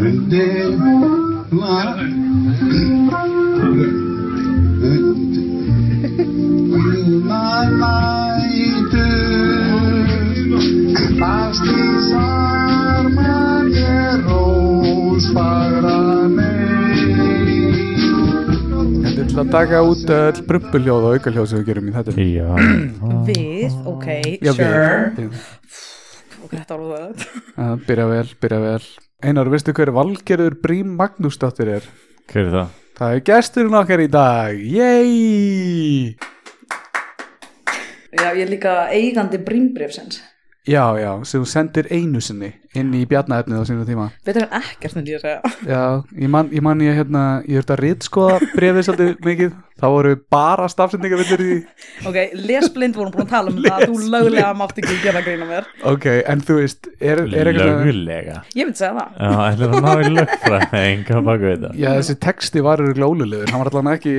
Önde var. Önde. Jólalætur Fastið sarmar ég rós fagra mig Þetta er til að taka út eh, öll brumpuljóð og aukaljóð sem við gerum í þetta Já, Við, ok, Já, við- sure Já. Ok, þetta var það Já, Byrja vel, byrja vel Einar, veistu hver Valgerður Brím Magnúsdóttir er? hver er það? Það er gesturinn okkar í dag Yay! Já, ég er líka eigandi brímbrefsins Já, já, sem þú sendir einu sinni inn í bjarnaefnið á sínu tíma Veitur hann ekkert en ég segja Já, ég man ég, man ég hérna, ég þurfti að rítskoða brefið svolítið mikið þá voru bara stafsendingavillir í því Ok, lesblind vorum búin að tala um það Þú löglega mátt ekki gera grín að mér Ok, en þú veist, er, er eitthvað Lögulega Ég myndi segja það Já, ætli það náði lögfræðing að baka við það Já, þessi texti var eru glólulegur, hann var allan ekki,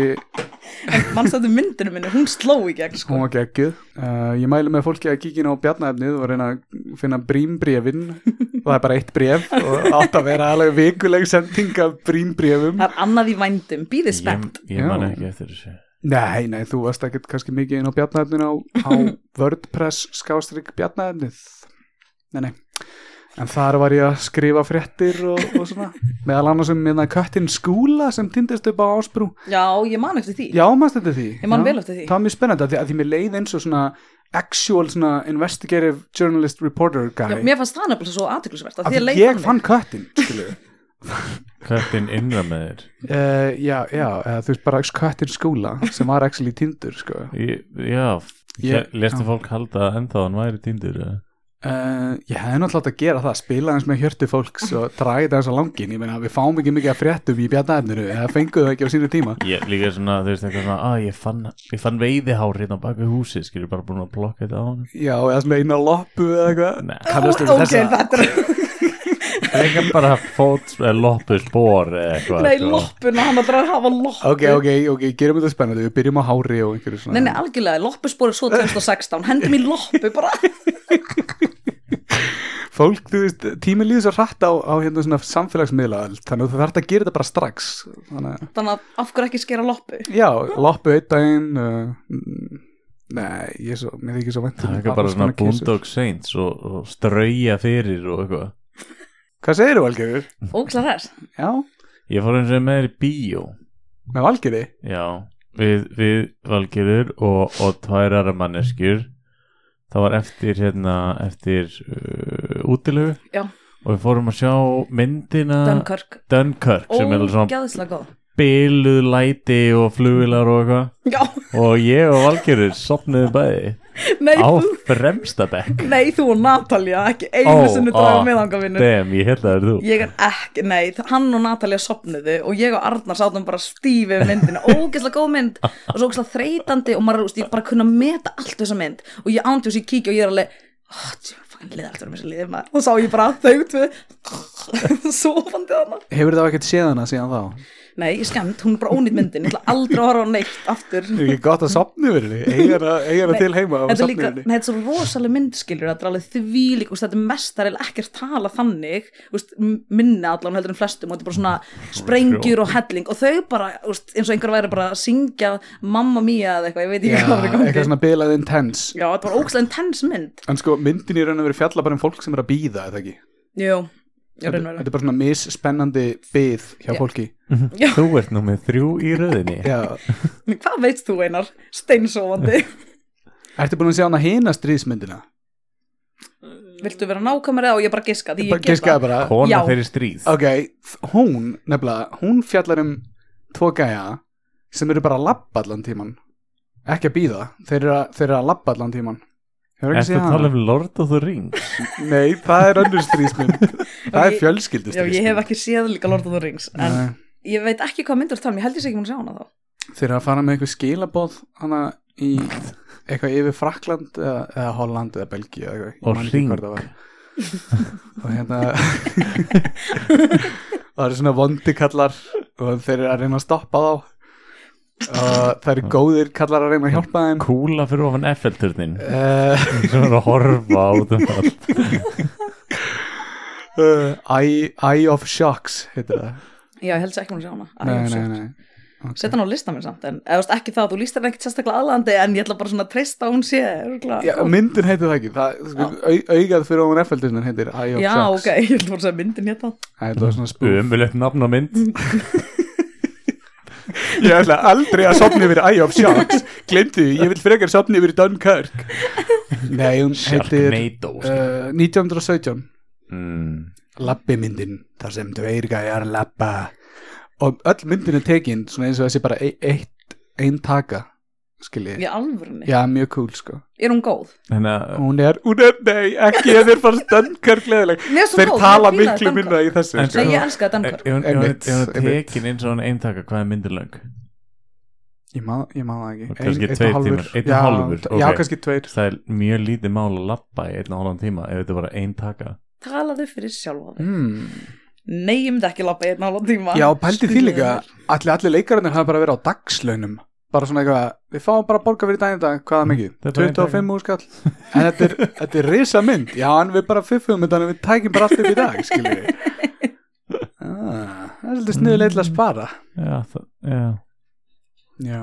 En mannstættu myndinu minni, hún sló í gegn sko. hún var geggjuð. Uh, ég mælu með fólki að kíkja inn á bjarnaefnið og reyna að finna brýmbrefin, það er bara eitt bref og átt að vera alveg vikuleg sending af brýmbrefum. Það er annað í vændum, býðið spennt Ég, ég man Já. ekki eftir þessu Nei, nei, þú varst ekkert kannski mikið inn á bjarnaefnið á, á WordPress skástrík bjarnaefnið. Nei, nei. En þar var ég að skrifa fréttir og, og svona. Meðal annars um minna köttin Skúla sem týndist upp á Ásbrú. Já, ég man eftir því Já, mannst þetta því? Ég man Já. vel eftir því. Það var mjög spennandi að því, að því mér leið eins og svona actual svona investigative journalist reporter guy. Já, mér fannst það nefnilega svo aðtiklisvert Af því ég fann köttin, skilu. Hvernig innra með þér? uh, já, já, uh, þú veist bara köttin skóla sem var actually tindur, sko. Ég- Já, Ég- ég, lestu já. fólk halda að ennþá hann væri týndur eða? Uh, ég hefði náttúrulega átt að gera það, spila eins með hjörtu fólks og draga þetta eins á langin. Ég meina, við fáum ekki mikið að fréttum í bjarnaefninu, eða fenguðu það ekki á sínu tíma. Ég líka svona, þú veist eitthvað svona að ég fann, ég fann veiðihár hérna á baku húsi skilur bara búin að plokka þetta á hann Já, eða svona eina loppu eða eitthvað. Nei, Kannastu við Ok, þessa? þetta er líka bara fót, eh, loppu spór eða eitthvað Nei, sko. loppuna, hann að draga að hafa loppu Ok, ok, ok, gerum þetta spennandi, við byrjum á hári og einhverju svona. Nei, nei, algjörlega, loppusporið svo 2016 Hendum í loppu bara fólk, þú veist, tíminn líður svo hratt á, á hérna svona samfélagsmiðla þannig að þú þarf að gera þetta bara strax þannig að, Þannig að af hverju ekki skera loppu já, loppu einn daginn uh, mm, nei, ég er svo, mér er ekki svo um vant Það er eitthvað bara svona Boondock Saints og, og strauja fyrir og eitthvað Hvað segir þú, Valgerður? Ókslega þess Já, Ég fór eins og með þér í bíó með Valgerði? Já, við, við Valgerður og, og tvær aðra manneskjur það var eftir hérna, eftir uh, útilegu Já. og við fórum að sjá myndina Dunkirk Dunkirk Ah. sem er alveg svona Ógæðislega góð byluð læti og flugilar og eitthvað Já, og ég og Valgerður sopnuðu bæði nei, á þú, fremsta bekk nei, þú og Natalia Ekki Ó, einu ah, sinni draga ó, með ánga vinnu Dem, ég held að það er þú Ég er ekki, nei, hann og Natalia sopnuðu og ég og Arnar sátum bara stífi við myndina, ógeðslega góð mynd og svo ógeðslega þreytandi og maður, þú veist, ég bara kunna meta allt við þessa mynd og ég ándi þess að ég kíkja og ég er alveg oh, tjú, fann liða allt verið með þessa liðið maður og sá ég bara þau tvö sofandi þarna Hefur það ekkert séð hana síðan þá? Nei, ég skemmt, hún er bara ónýtt myndin, ég ætla aldrei að horfa á neitt aftur Er ekki gott að sopni verið? Eigar hana til heima á Þetta er sopni líka, nei, þetta er svo rosalega myndskilur Þetta er alveg því lík, þetta er mestar eða ekkert tala þannig, úst, minna allan heldur en flestum og þetta er bara svona sprengjur og helling og þau bara, úst, eins og einhver væri bara að syngja Mamma Mia eða eitthvað, ég veit Já, ekki hvað var í gangi eitthvað svona bilað intense Já, þetta var ókslega intens mynd En sko, myndin í raun og verið fjalla bara um fólk sem er að býða, eða ekki? Jú, ég Þetta raunverð þetta er bara svona misspennandi byð hjá Já. fólki Þú ert nú með þrjú í röðinni Já, Hvað veist þú einar, steinsofandi Ertu búin að sjá hana hina stríðsmyndina? Viltu vera nákvæmari eða á ég bara giska því ég Bara get giskaði það? bara Kona Já. þeirri stríð Ok, þ- hún nefnilega, hún fjallar um tvo gæja sem eru bara að labba allan tíman ekki að býða, þeir eru að, þeir eru að labba allan tíman Hefur ekki Ertu séð að tala hana? um Lord of the Rings? Nei, það er önnur stríðsmynd Það er ég- Já, fjölskyldustríðsmynd ég hef ekki séð líka Lord of the Rings en Nei, ég veit ekki hvað myndur tala um, ég held ég sé ekki múin að sjá hana þá Þeir eru að fara með eitthvað skilaboð hana í eitthvað yfir Frakland eða, eða Holland eða Belgíu eða eitthvað, ég Og man ekki hring. hvar það var. og hérna það eru svona vondi kallar og þeir eru að reyna að stoppa þá og það eru góðir kallar að reyna að hjálpa þeim Eh, Kúla fyrir ofan Eiffelturnin uh, sem er að horfa út um allt Uh, Eye, Eye of Shocks heitir það Já, ég held sér ekki múin að sjá hana Æ, Nei, ég nei, sé- nei Setja hann á lista minn samt en, eða, þú veist, ekki það, þú líst hann ekkit sérstaklega aðlandi en ég ætla bara svona að treysta að hún sé örugglega Já, góð. myndin heitir það ekki það, sko, au- Augað fyrir ofan effeldisnin heitir Eye of Já, Shocks ok, ég ætla bara að segja myndin hérna Það er það svona spúf Ömulegt nafn á mynd Ég ætla aldrei að sopna yfir Eye of Sharks Glemdu, ég vil frekar sopna yfir Dunkirk Nei, hún heitir Sharknado uh, uh, 1917 mm. Lappi myndin, þar sem tveir gæjar lappa Og öll myndin er tekin svona eins og þessi bara e- eitt einn taka, skilji Í alvörunni, Já, mjög cool, sko er hún góð? Þannig að Hún er, hún er, nei, ekki ég þér fannst Dunkirk leðileg Mér er svo Þeir góð, tala ég fílaði miklu Dunkirk. minna í þessu En sko. Nei, ég elska Ef Dunkirk hún- ef hún Einmitt, ef hún er einmitt. tekin eins og hann eintaka hvað er myndir löng Ég man, ég man það ekki Og kannski Ein- einn og tveir hálfur. tímar, einn og Já, hálfur, t- ok. Já, kannski tveir Það er mjög lítið mál að lappa í einn og hálfan tíma ef þetta var eintaka Talaðu fyrir sjálfa þig mm. Nei, ég myndi ekki labba í einn álan tíma Já, pældi því Sturlu líka þér. Allir, allir leikarinnir hafa bara verið á dagslaunum Bara svona eitthvað, við fáum bara að borga fyrir daginn í dag Hvaða mikið? Þetta er bara 25 úr skall En þetta er, þetta er risa mynd Já, en við bara fiffum um þetta en við tækjum bara allt upp í dag Skiljum við ah, Það er svolítið sniður leitlega að spara Já, það, já Já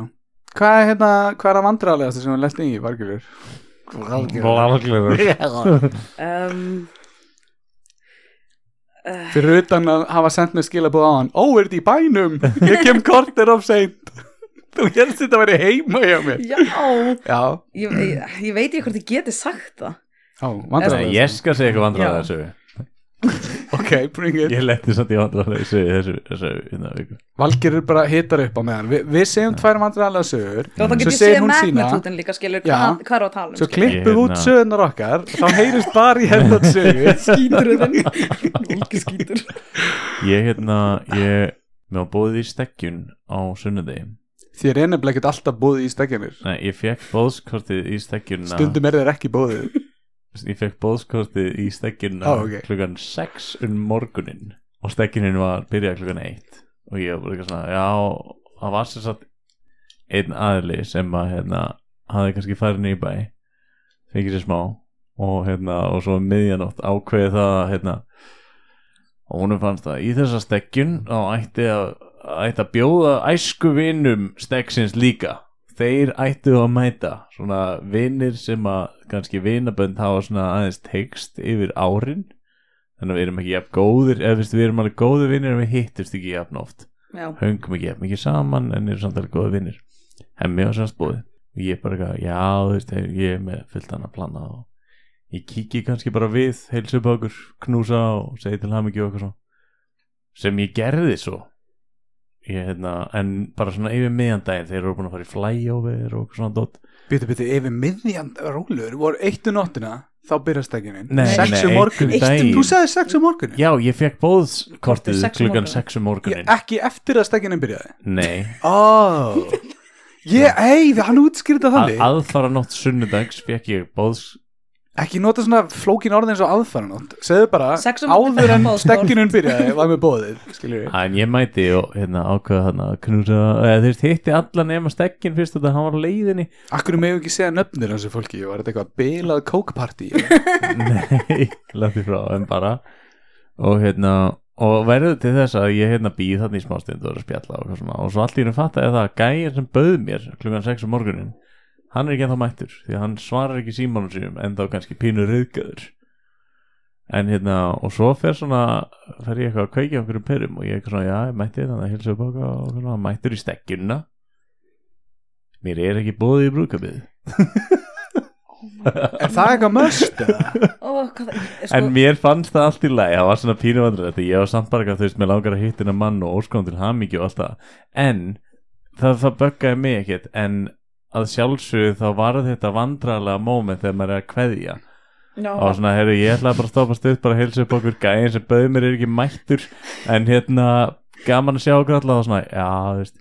Hvað er hérna, hvað er að vandralegast sem við lest í, Vargjörður? Valglegur um, Fyrir utan að hafa sendt mér skilabóð á hann Ó, er þetta í bænum? Ég kem kortir of seint Þú helst þetta að vera heima hjá mér Já, Já, ég, ég, ég veit ekki hvort ég geti sagt það á, vandræðalegt Ég skal segja eitthvað vandræða Já. þessu Ok, bring it Ég leti samt í vandræða þessu þessu, þessu, hérna, viku. Valgir er bara hitar upp á meðan Vi, Við segjum tvær vandræðalega sögur Já, þá Mm. Svo get segir ég séð hún sína magnetútin líka skilur Já. hvað, hvað er að tala um Svo skilur. klippum við Ég, út hérna- sögurnar okkar Þá heyrist bara í hérna hennar sögu Skíturinn Volki skítur Ég hérna Ég Mér var bóðið í stekkjun á sunnudegi Þér er nefnilega ekkert alltaf búið í stekjanir Nei, ég fekk bóðskortið í stekkjunna Stundum er þér ekki búið Ég fekk bóðskortið í stekkjunna Á, ok. klukkan 6 um morgunin og stekkjunin var byrjað klukkan 1 og ég var bara eitthvað svona já, það var sér satt einn aðli sem að hérna hafði kannski farið niður í bæ fengið sér smá og hérna og svo um miðjanótt ákveði það að, hérna og húnum fannst það í þessa stekkjun þá ætti að, ætti að bjóða æsku vinum stekksins líka þeir ættu að mæta svona vinir sem að kannski vinabönd hafa svona aðeins teikst yfir árin þannig að við erum ekki jafn góðir eða veist, við erum alveg góðir vinir en við hittumst ekki jafn oft Já, höngum ekki jafn mikið saman en eru samt alveg góðir vinir hemmi á semst búið og ég bara eitthvað, já þú veist ég er með fullt annað plana og ég kíki kannski bara við heilsu upp á okkur knúsa og segi til hann ekki okkur svo sem ég gerði svo ég hérna en bara svona yfir miðjandaginn þeir eru búin að fara í flyover og svona dot Býtu, býtu, yfir miðjan rólur Voru eittu nóttina, þá byrja stekjanin Nei, Sex nei, um morgunin eitt um daginn. Þú sagði sex um morgunin Já, ég fekk bóðskortið Sex um klukkan morguninn. 6 um morgunin Ekki eftir að stekjanin byrjaði Nei, Ó Ég, ei, hann útskýrði það að, þannig aðfara nótt sunnudags fekk ég bóðs Ekki nota svona flókin orðin eins og aðfaranótt Segðu bara, Sex um áður en morgunin. stekkinun byrjaði var með bóðið, skiljum við en ég mæti og hérna ákveða hann að knúsa eða þeir hitti alla nema stekkin fyrst þetta hann var á leiðinni Akkur megum ekki segja nöfnir hans fólki Var þetta eitthvað bilað kókpartí Nei, landi frá en bara og hérna og verður til þess að ég hérna býð þannig í smástund og er að spjalla og eitthvað svona og svo allt í hennu fatta ég það að gæjar sem bauð mér klukkan 6 um morgunin hann er ekki ennþá mættur því að hann svarar ekki símanum sínum en þá kannski pínur rauðgöður en hérna og svo fer svona fer ég eitthvað að kveikja okkur um perum og ég er eitthvað svona já, ég mætti þannig að hilsa upp okkar og svona, hann mættur í stekkjunna mér er ekki bóðið í brúkabíð Er það eitthvað möst? ó, hvað það er sko- En mér fannst það allt í lagi, það var svona pínu vandræði þetta, ég var samt bara eitthvað, þú veist, mér langar að hittina mann og óskonum til hamingju og allt það, en það, það böggaði mig ekkert, en að sjálfsögðu þá var þetta vandræðlega móment þegar maður er að kveðja Já, og svona, herru, ég ætlaði bara að stoppa stuð, bara að heilsa upp okkur gæðin sem bauð mér er ekki mættur, en hérna, gaman að sjá okkur alltaf og svona, já, þú veist,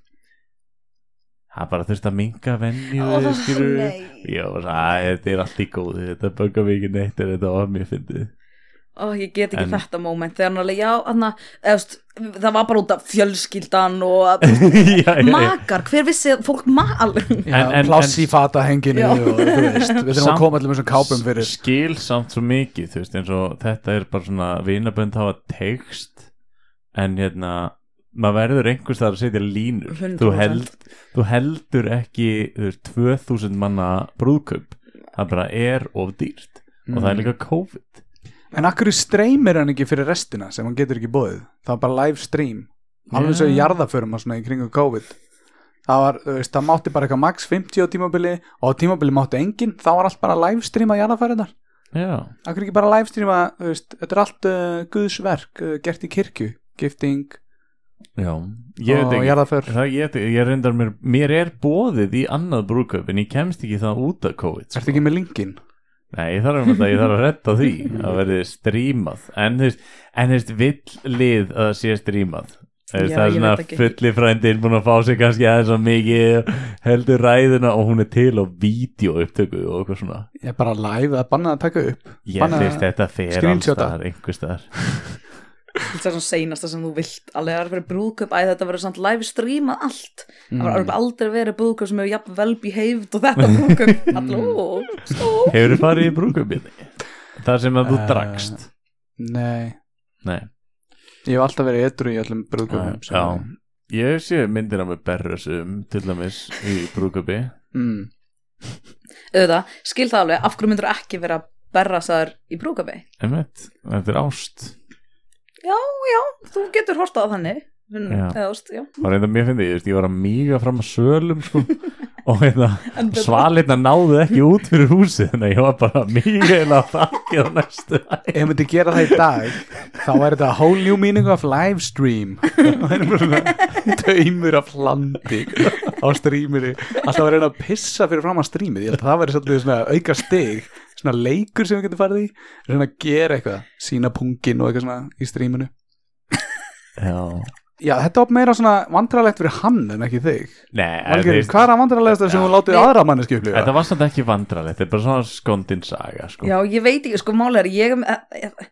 það bara þurfti að minga venju, Ó, skilur nei. Ég var bara, svona, "Æ, þetta er allt í góðu, þetta böggar mig ekki neitt en þetta var mjög fyndið. ó, ég get ekki En- þetta moment þegar hann alveg, já, hann að það var bara út af fjölskyldan og að, já, já, já. makar, hver vissi að fólk mal En- en- plass en- í fata henginu Já. og þú veist, við þurfum Samt- að koma allir með þessum kápum fyrir skil samt svo mikið þú veist eins og þetta er bara svona vinabönd hafa text en hérna maður verður einhvers þar að setja línur 100%. þú, held, þú heldur ekki þú veist, 2000 manna brúðkaup það bara er of dýrt og það er líka COVID En akkur streymir hann ekki fyrir restina sem hann getur ekki bóðið? Það var bara live stream Alveg svo í Já. jarðaförum og svona í kringum COVID Það var, þú veist, það mátti bara eitthvað max 50 á tímabili og á tímabili mátti enginn þá var allt bara live stream að jarðafæriðar já, Akkur ekki bara live stream að, þú veist, þetta er allt uh, guðsverk uh, gert í kirkju gifting já. ég og veit ekki jarðaför Það, ég, veit ekki, ég reyndar mér, mér er bóðið í annað brúðkaup en ég kemst ekki það út af COVID sko. Ertu ekki með linkin? Nei, ég þarf, að, ég þarf að retta því að verði strímað en þú veist, en þú veist, vill lið að það sé strímað Já, Já, það er ég svona veit ekki. fulli frændin búin að fá sig kannski aðeins að mikið heldur ræðuna og hún er til á vídeo upptöku og eitthvað svona Ég er bara live að banna að taka upp ég Banna- finnst þetta fer alls Screenshota. þar einhvers þar þetta er svona seinasta sem þú vilt alveg það er fyrir brúðkaup, æ þetta verður samt live streamað allt, Mm, það var Mm. örugglega aldrei verið brúðkaup sem hefur jafn vel behaved og þetta brúðkaup allir, ó, ó hefur þið farið í brúkabíði þar sem að þú Eh, dragst Nei, Nei, ég hef alltaf verið etru í öllum sko. brúðgöfum já ég sé myndina með berrösum til dæmis í brúkabi mm. auðvitað, skil það alveg, af hverju myndur ekki vera berrasaður í brúðkaupi einmitt, þetta er ást þú getur horta á þannig Já. Eða, þú veist, já. og reynda mér finnði, ég, veist, ég var að míga fram að sölum sko, og hérna En betra. svalirna náðu ekki út fyrir húsið þannig að ég var bara að míga eða þakkið á næstu hæð. ef myndi gera það í dag þá er þetta whole new meaning of live stream það er bara svona taumur af landi á streaminu alltaf að reyna að pissa fyrir fram að streamið ég held að það væri svolítið svona auka stig svona leikur sem við getum farið í reyna að gera eitthvað, sína pungin og eitthvað svona í streaminu Já. já, þetta var meira svona vandrarlegt fyrir hann en ekki þig Nei, en þú Valgeir, veist, hvað er að vandrarlegasta sem hún látið Nei. aðra manneski upplifa? þetta var samt ekki vandralegt þetta er bara svona skondin saga sko. já, ég veit ekki, sko máli er ég, eh, eh,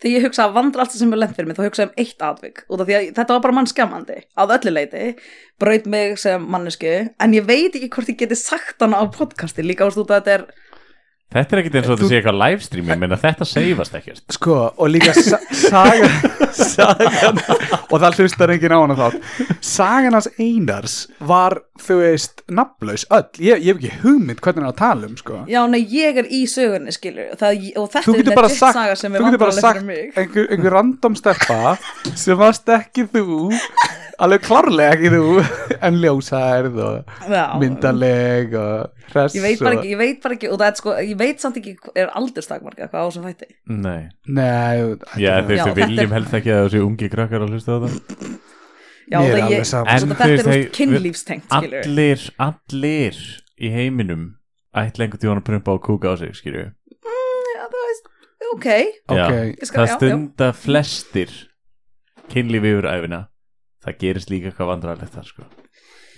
þegar ég hugsa að vandra allt sem er lent fyrir mig, þá hugsa ég um eitt atvik út af því að þetta var bara mannskjamandi að öllu leiti, braut mig sem mannesku en ég veit ekki hvort ég geti sagt hana á podcasti líka ást út að þetta er þetta er ekkit eins og Eh, Þú- þetta sé eitthvað livestream ég meina þetta seifast ekkert Sko, og líka sa saga, sagan og það hlustar enginn á hana þátt Sagan hans Einars var, þú veist, nafnlaus öll Ég, ég hef ekki hugmynd hvernig hann er að tala um, sko já, nei, ég er í sögunni, skilur það, og þetta Þú er getur bara legit sagt, saga þú sem er getur bara vandrarleg sagt fyrir mig einhver, einhver random steppa sem varst ekki þú alveg klárlega ekki þú en ljósærð og Já. myndaleg og hress ég veit og... bara ekki, ég veit bara ekki og það er sko, ég veit samt ekki er aldurstakmarka eitthvað á sem þætti Nei, Nei, þetta er- já, þeir, Já, þeir þetta er- viljum helst ekki að þessi ungi krakkar að hlusta á það já, Mér er það alveg ég, sama. en, En þetta þú er veist, úr hey, kynlífstengt skilur við. allir, allir í heiminum ætla einhvern tíðan að prumpa og kúka á sig skilju Já, það veist, ok, Ok, ég skal, það já, stunda flestir kynlífi yfir æfina það gerist líka eitthvað vandrarlegt þar sko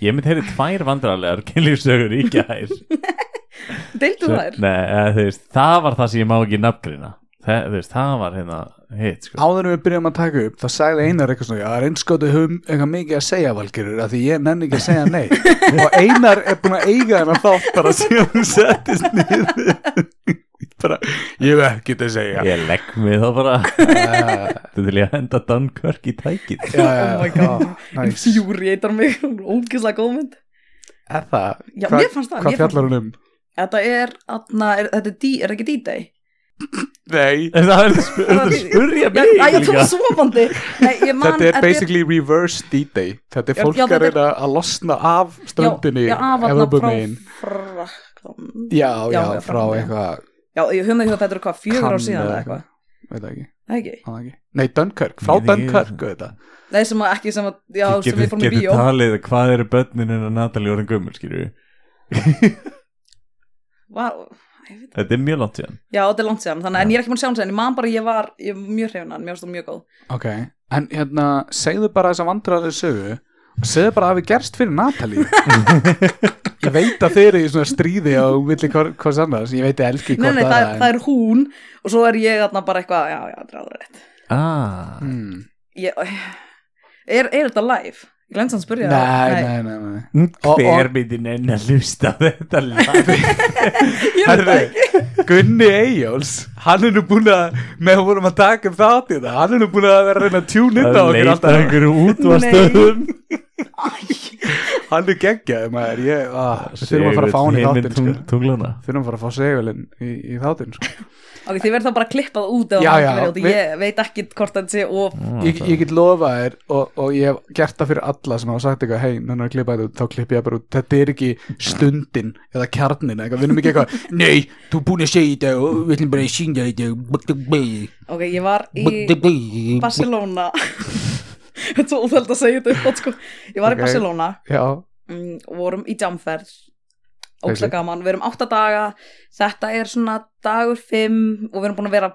ég myndi heyri tvær vandrarlegar kynlífsögur í gær já, deildu Nei, þær eða, þú veist, það var það sem ég má ekki nafngrina það, þú veist, það var hérna hitt sko áður en við byrjum að taka upp þá sagði Einar eitthvað svona, já, reynskóti höfum eitthvað mikið að segja valgerur af því ég nenni ekki að segja nei og Einar er búin að eiga hennar þátt bara síðan hún settist niður bara, ég hef ekkert að segja ég legg mig þá bara þú vil ég að henda Dunkirk í tækið já, já, Oh my já, God. nice. fjúriðar mig, ógislega góðmynd er það, Já, Hva- mér fannst það, mér hvað fannst fjallar hún um þetta er, atna, er þetta er, dí, er ekki D-Day nei, En það er að spurja Já, mig já, ég tók líka svovandi Nei, ég man, þetta er basically reverse D-Day þetta er Já, fólk já, að þetta er- reyna að losna af ströndinni já, af þarna frá Evrópumegin Frakland já, Já, já, já, frá Frakklandi, já. eitthvað Já, ég höfum ekki að þetta er hvað, fjögur ár Kann síðan eða eða eitthvað, veit það ekki Það ekki? Það ekki. Nei, Dunkirk, frá Nei, Dunkirk ég- auðvitað. Nei, sem að ekki sem að, já, sem við fórum í bíó talið hvað eru börnin en að Natalie orðin gömul skilju Vá, ég veit- þetta er mjög langt síðan Já, þetta er langt síðan, þannig en ég er ekki búin að sjá hann síðan, ég man bara að ég var, ég var mjög hreifunan, mjög stóð mjög góð. Ok, en hérna segðu bara þess að vandrarlega sögu og segðu bara að við gerst fyrir Natalie ég veit að þeir eru í svona stríði á milli hvort hvers annars, ég veit að elski Nei, hvort nei, það, aðra, er- en- það er hún og svo er ég þarna bara eitthvað, já, já, þetta er alveg rétt Ah, mm. ég, er, er þetta live? Ég glemt að spyrja það. nei, nei, nei, nei. Og- hver og- myndi nenni að hlusta á þetta lag Ég veit það ekki. Herðu, Gunni Eyjóls hann er nú búin að, með hún vorum að taka um þátt í þetta, hann er nú búin að vera að reyna að tjúna inn á að okkur leita alltaf einhverju útvastöðum hann er geggjaði maður, ég, að, við þurfum að fara að fá hann í þáttinn sko. tunglana þurfum að fara að fá segulinn í, í þáttinn sko. Ok, þið verður þá bara að klippa það út ef Já, það er já, ekki verið út. við- Ég veit ekki hvort þetta sé og ég, ég get lofað þér og, og ég hef gert það fyrir alla sem hafa sagt eitthvað hei, nennar að klippa þetta út, þá klippi ég bara út þetta er ekki stundin eða kjarnin eitthvað, við erum ekki eitthvað, nei þú er búin að segja þetta og við ætlum bara að syngja þetta ok, ég var í Barcelona Þetta er svo óþæld að segja þetta upp átt sko Ég var Ok. í Barcelona já, mm, og vorum í jamferð Crazy. Óksla gaman, við erum átta daga Þetta er svona dagur fimm og við erum búin að vera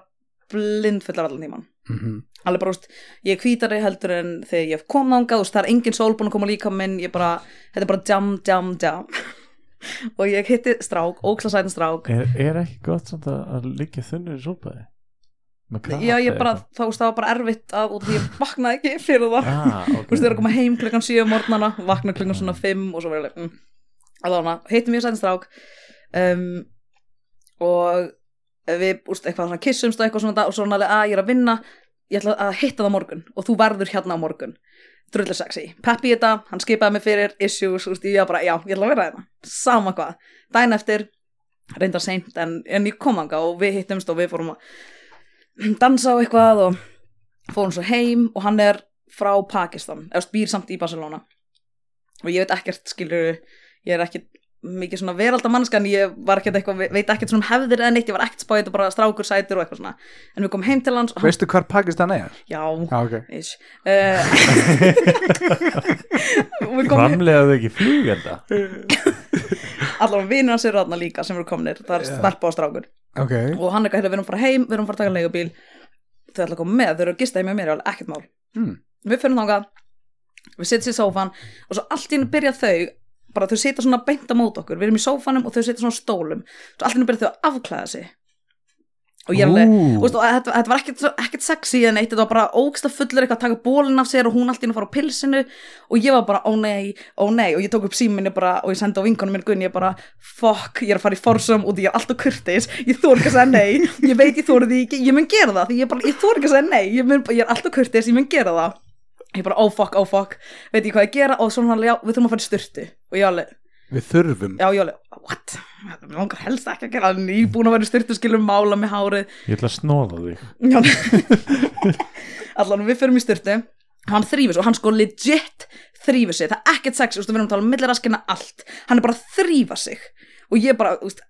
blindfullar allan tíman mm alveg bara, úst, ég er hvítari heldur en þegar ég kom þangað, úst, það er engin sól búin að koma líka minn, ég bara, þetta er bara jam, jam, jam og ég hitti strák, ókslasætin strák er, er ekki gott samt að, að liggja þunnur í sópaði já, ég bara, þá úst, það var bara erfitt að, og því ég vaknaði ekki fyrir það ah, þú veist, okay. þeir eru að koma heim klukkan 7 morgnana, vakna klukkan svona 5 og svo verður mm. alveg hana, heitum ég sætin strák um, og við, úst, eitthvað svona kissumst og eitthvað svona dag og svona alveg að ég er að vinna ég ætla að hitta það á morgun og þú verður hérna á morgun drullu sexy, peppi í þetta, hann skipaði mig fyrir issues, úst, ég var bara, já, ég ætla að vera hérna sama hvað, dæn eftir reyndar seint, en, en ég kom hanga og við hittumst og við fórum að dansa og eitthvað og fórum svo heim og hann er frá Pakistan eða þú veist, býr samt í Barcelona og ég veit ekkert skilur ég er ekkert mikið svona veraldamannska en ég var ekkert eitthvað, veit ekkert svona um hefðir eða neitt, ég var ekkert spáið, þetta bara strákur sætur og eitthvað svona en við komum heim til hans og hann, veistu hvar Pakistan er? já, já, ok ish uh, við komum framlega þau ekki flugenda allavega vinir hans eru þarna líka sem eru komnir, það er Já. stelpa og strákur ok, og hann er eitthvað, "Heyrðu, við erum að fara heim, við erum að fara að taka leigubíl þau ætla að koma með, þau eru að gista heim með mér, ég er alveg ekkert mál Mm. við fyrir þangað, við setjum sér í sófan og svo allt í hennu byrja þau bara þau setja svona beint á mót okkur, við erum í sófanum og þau setja svona á stólum, svo allt í hennu byrja þau að afklæða sig og ég er alveg Þú veist, og þetta, þetta var ekkert, ekkert sexy en eitt, þetta var bara ógsta fullur eitthvað að taka bólin af sér og hún allt í einu að fara á pilsinu og ég var bara, ó nei, ó nei og ég tók upp síminni bara og ég sendi á vinkonum minn Gunni, ég bara, fuck, ég er að fara í forsum og því ég er alltaf kurtis, ég þór ekki að segja nei ég veit ég þór því ekki, ég mun gera það því ég, bara, ég þór ekki að segja nei, ég, mun, ég er alltaf kurtis ég mun gera það, ég bara, ó fuck, ó fuck veit ég hvað ég gera og svona, já, við þurfum að fara í styrtu og ég alveg, við þurfum já, ég alveg, what Mig langar helst ekki að gera það, nýbúin að vera í styrtu skilum mála með hárið, ég ætla að snóða þig Já. Allan við förum í styrtu Hann þrýfur sig og hann sko legit þrýfur sig, það er ekkert sex þú veist, við erum að tala um milliraskina allt hann er bara að þrýfa sig og ég bara, þú veist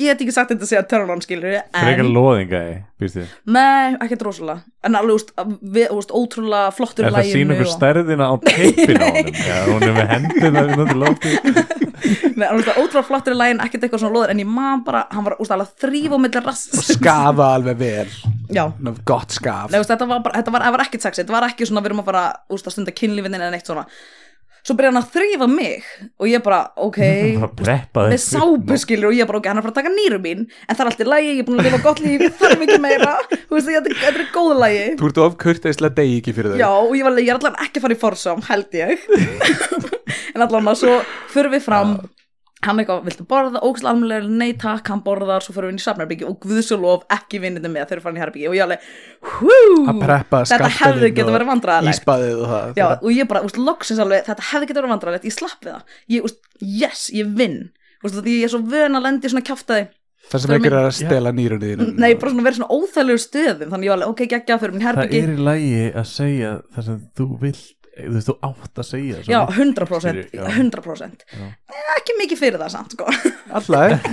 get ekki sagt þetta að segja turn on skilur frekar en, loðinga í býstu nei, ekkert rosalega en alveg, þú veist, að við, þú veist, ótrúlega flottur er í það að laginu sína okkur og- stærðina á teipinu á honum já, hún er með hendina hérna til lóti Nei, alveg, þú veist, ótrúlega flottur í lægin, ekkert eitthvað svona lóður en ég man bara, hann var, þú veist, alveg að þrýfa á millir og rass skafa alveg vel já, Ná, gott skaf Nei, þú veist, þetta var, bara, þetta var, þetta var ekkert sexi, þetta var ekki svona við erum að fara úst, að stunda kynlífinni eða neitt svona svo byrja hann að þrýfa mig og ég bara, ok það breppa með sápu skilur og ég bara, ok, hann er að fara að taka nýru mín en það er allt í lægi, ég er búin að lifa gott líf ég þarf ekki meira, þú veist, þetta er- þetta er góð lægi þú ert of kurteislega degi ekki fyrir þau já, og ég var alveg, ég er allan ekki að fara í forsám held ég en allan að svo förum við fram hann eitthvað, viltu borða, ógæslega almennilega nei takk, hann borðar, svo förum við inn í safnarbyggi og guðsjólof ekki vinnindum með þau eru farin í herbyggi og ég alveg, hú að preppa þetta hefði skarpelinn getið og verið vandræðalegt íspaðið og það já, og ég bara, úst, loksins alveg, þetta hefði getið verið vandræðalegt ég slapp við það, ég, úst, yes, ég vinn úst, því ég er svo vön að lendi svona kjaftaði það sem Fyrir ekki er mig- að stela nýrunni þínu nei, bara svona verið svona óþæglegur stöðum þannig ég var alveg, ok, geggja, fyrir minn það herbyggi er í lagi að segja það sem þú vilt þú veist, þú átt að segja það sem já, þú vilt. 100%, Já. 100% Já. Eh, ekki mikið fyrir það samt, sko Alltaf,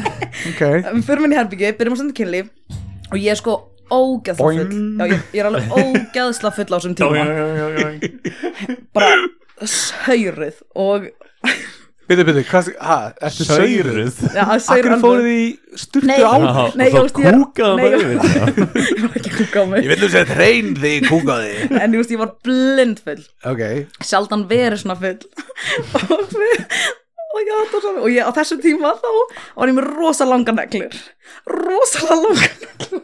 ok við förum inn í herbyggi, byrjum að senda kynlíf og ég er sko ógeðsla Boing. full já, ég, ég er alveg ógeðsla full á þessum tíma bara sauruð og Byrðu, byrðu, hvað, ha, ertu sauruð? Sauruð já, Akkur sauruð fóruð í sturtu Nei. á Já, Nei, og ég þá veist, ég- kúkaði nei, bara ég- yfir það. ég var ekki að kúka á mig vil þú segja hrein þig kúkaði en ég, veist, ég var blindfull Ok, sjaldan verið svona full og, við, my god og, svo- og ég á þessum tíma þá var ég með rosa langa neglur rosa langa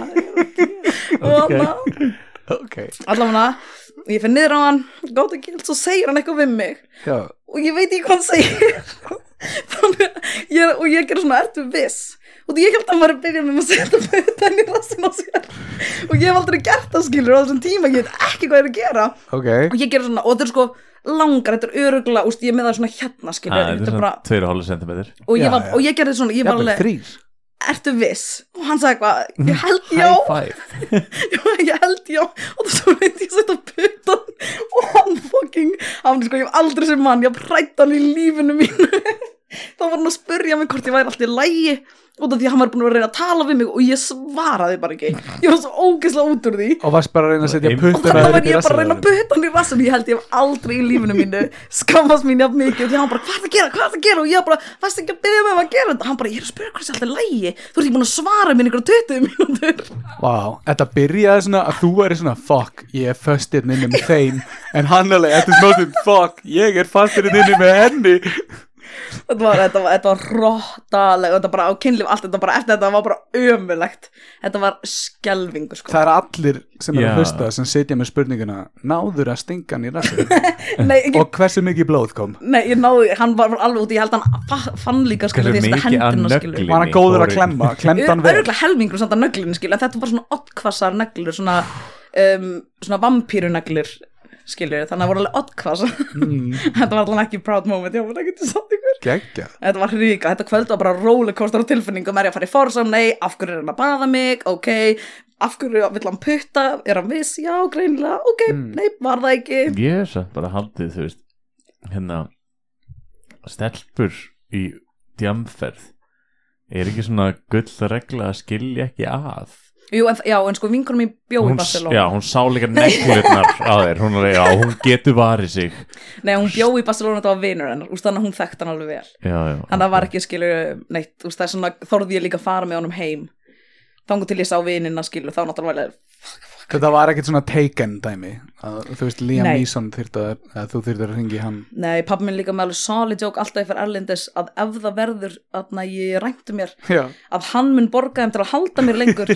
neglur og Ok. okay. ok, allavega ég finn niður á hann góta gild svo segir hann eitthvað við mig já, og ég veit ekki hvað hann segir Þannig, að ég, og ég gerir svona ertu viss og því ég held að maður er byrjað með að setja fötan í rassin á sér og ég hef aldrei gert það skilur á þessum tíma ég veit ekki hvað ég er að gera ok og ég gerir svona, og þetta er sko langar þetta er örugla, úst, ég er með það svona hérna skilur Ah, þetta er þetta er svona bara, 2,5 cm og, Já, ég var, já. og ég gerði svona, ég var jafnvel alveg þrýr ertu viss, og hann sagði eitthvað ég held já, five ég held já og svo reyndi ég að setja putan og hann fucking hann, sko, ég hef aldrei sem mann, ég haf hrætt hann í lífinu mínu þá var hann að spurja mig hvort ég væri alltaf í lægi og það því að hann var búin að vera að reyna að tala við mig og ég svaraði bara ekki ég var svo ógeðslega út úr því og varst bara að reyna að setja Ein- og puttuna þannig þér var upp í ég bara að rassinn á reyna að þér. böta hann í rassin ég held ég hef aldrei í lífinu mínu skammast mín jafn mikið og því hann bara hvað er að gera, hvað er að gera og ég bara, varst ekki að byrja með að gera þetta hann bara, ég er að spyrja hvað þessi alltaf lægi þú ert ekki búin að svara mér ykkur 20 mínútur Vá, þetta byrjaði svona að þú er svona fuck, ég er föstirn inni með þeim en hann alveg, þetta er smástum fuck ég er fastirinn inni með henni þetta var, þetta var, þetta var rottalega þetta bara á kynlíf, allt þetta bara eftir þetta var bara ömulegt þetta var skelvingu sko Það er allir sem er Já. að hlusta sem sitja með spurninguna náður að stinga hann í rassin nei, ekki, og hversu mikið blóð kom nei, ég náði, hann var, var alveg út ég held hann fa- fann líka skilur Hversu því að mikið af hendina nögli? skilur var hann góður að Fóru- klemma, klemd hann vel örgulega helmingur samt að nöglinu skilur en þetta var svona oddkvassar neglur svona, um, svona vampíru neglur skilur þannig að það voru alveg oddkvass Mm. þetta var allan ekki proud moment já, það getur samt ykkur Gekkja Þetta var hríka, þetta kvöld var bara rollercoaster á tilfinningum, er ég að fara í forsam, nei, af hverju er hann að baða mig, ok, af hverju vill hann putta, er hann viss, já, greinilega, ok, Mm. nei, var það ekki. ég hef samt bara haldið þú veist hérna stelpur í djamferð er ekki svona gull regla að skilja ekki að Jú, en, já, en sko vinkunum mín bjó í hún, Barcelona, já, hún sá líka neglurnar á þér hún, er, já, hún getur varið sig nei, hún bjó í Barcelona, þetta var vinur hennar, úst þannig að hún þekkt hann alveg vel. já, já, Þannig að það var ekki, skilur, neitt, úst það er svona, þorði ég líka að fara með honum heim, þangu til ég sá vinina, skilur, þá náttúrulega, Þetta var ekkert svona taken dæmi að, Þú veist, Liam Nei. Neeson þyrfti að, að þú þyrfti að ringi hann nei, pappi minn líka með alveg solid joke alltaf fyrir Erlendis að ef það verður, aðna ég ræntu um mér, Já, að hann mun borga þeim til að halda mér lengur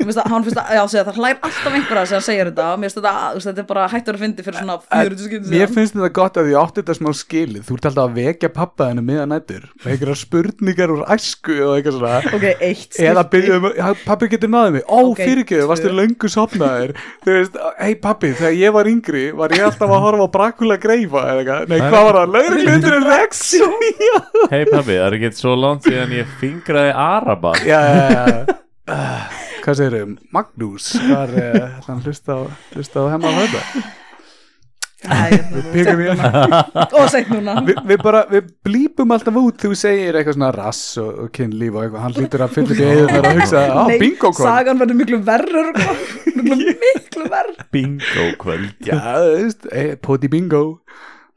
Mér finnst að, hann finnst að, já, segja, það hlær alltaf einhverja sem hann segir þetta Mér finnst þetta, þú veist, þetta er bara hættur að fyndi fyrir svona 40 skipti Mér finnst þetta gott að ég átti þetta smá skilið Þú ert alltaf að vekja pappa hennu miðan nættur með einhverjar spurningar úr æsku og eitthvað svona ok, eitt skipti. eða byrja um, "Já, pappi getur náðið mig ó, Ok, okay, fyrirgeðu, tvö. varstu löngu sopnaðir þú veist, hei pappi, þegar ég var yngri var ég alltaf að horfa á Brakula greifa eða eitthvað, nei, Það er- hvað var það, lauruglindur en Rex já, hei pabbi, það er ekki svo langt síðan ég fingraði araba já, já, já. Ah, hvað segir þau, Magnús var uh, hann hlusta á, hlusta á hemmar höfða Æ, hérna, píkum í hann og segt núna Vi, við bara, við blípum alltaf út þegar þú segir eitthvað svona rass og, og kynlíf og eitthvað, hann hlýtur að fylla því eða að hugsa, á, Nei, bingo kon sagan verður miklu verður miklu, miklu verður bingo kvöld já, þú veist, eh, poti bingo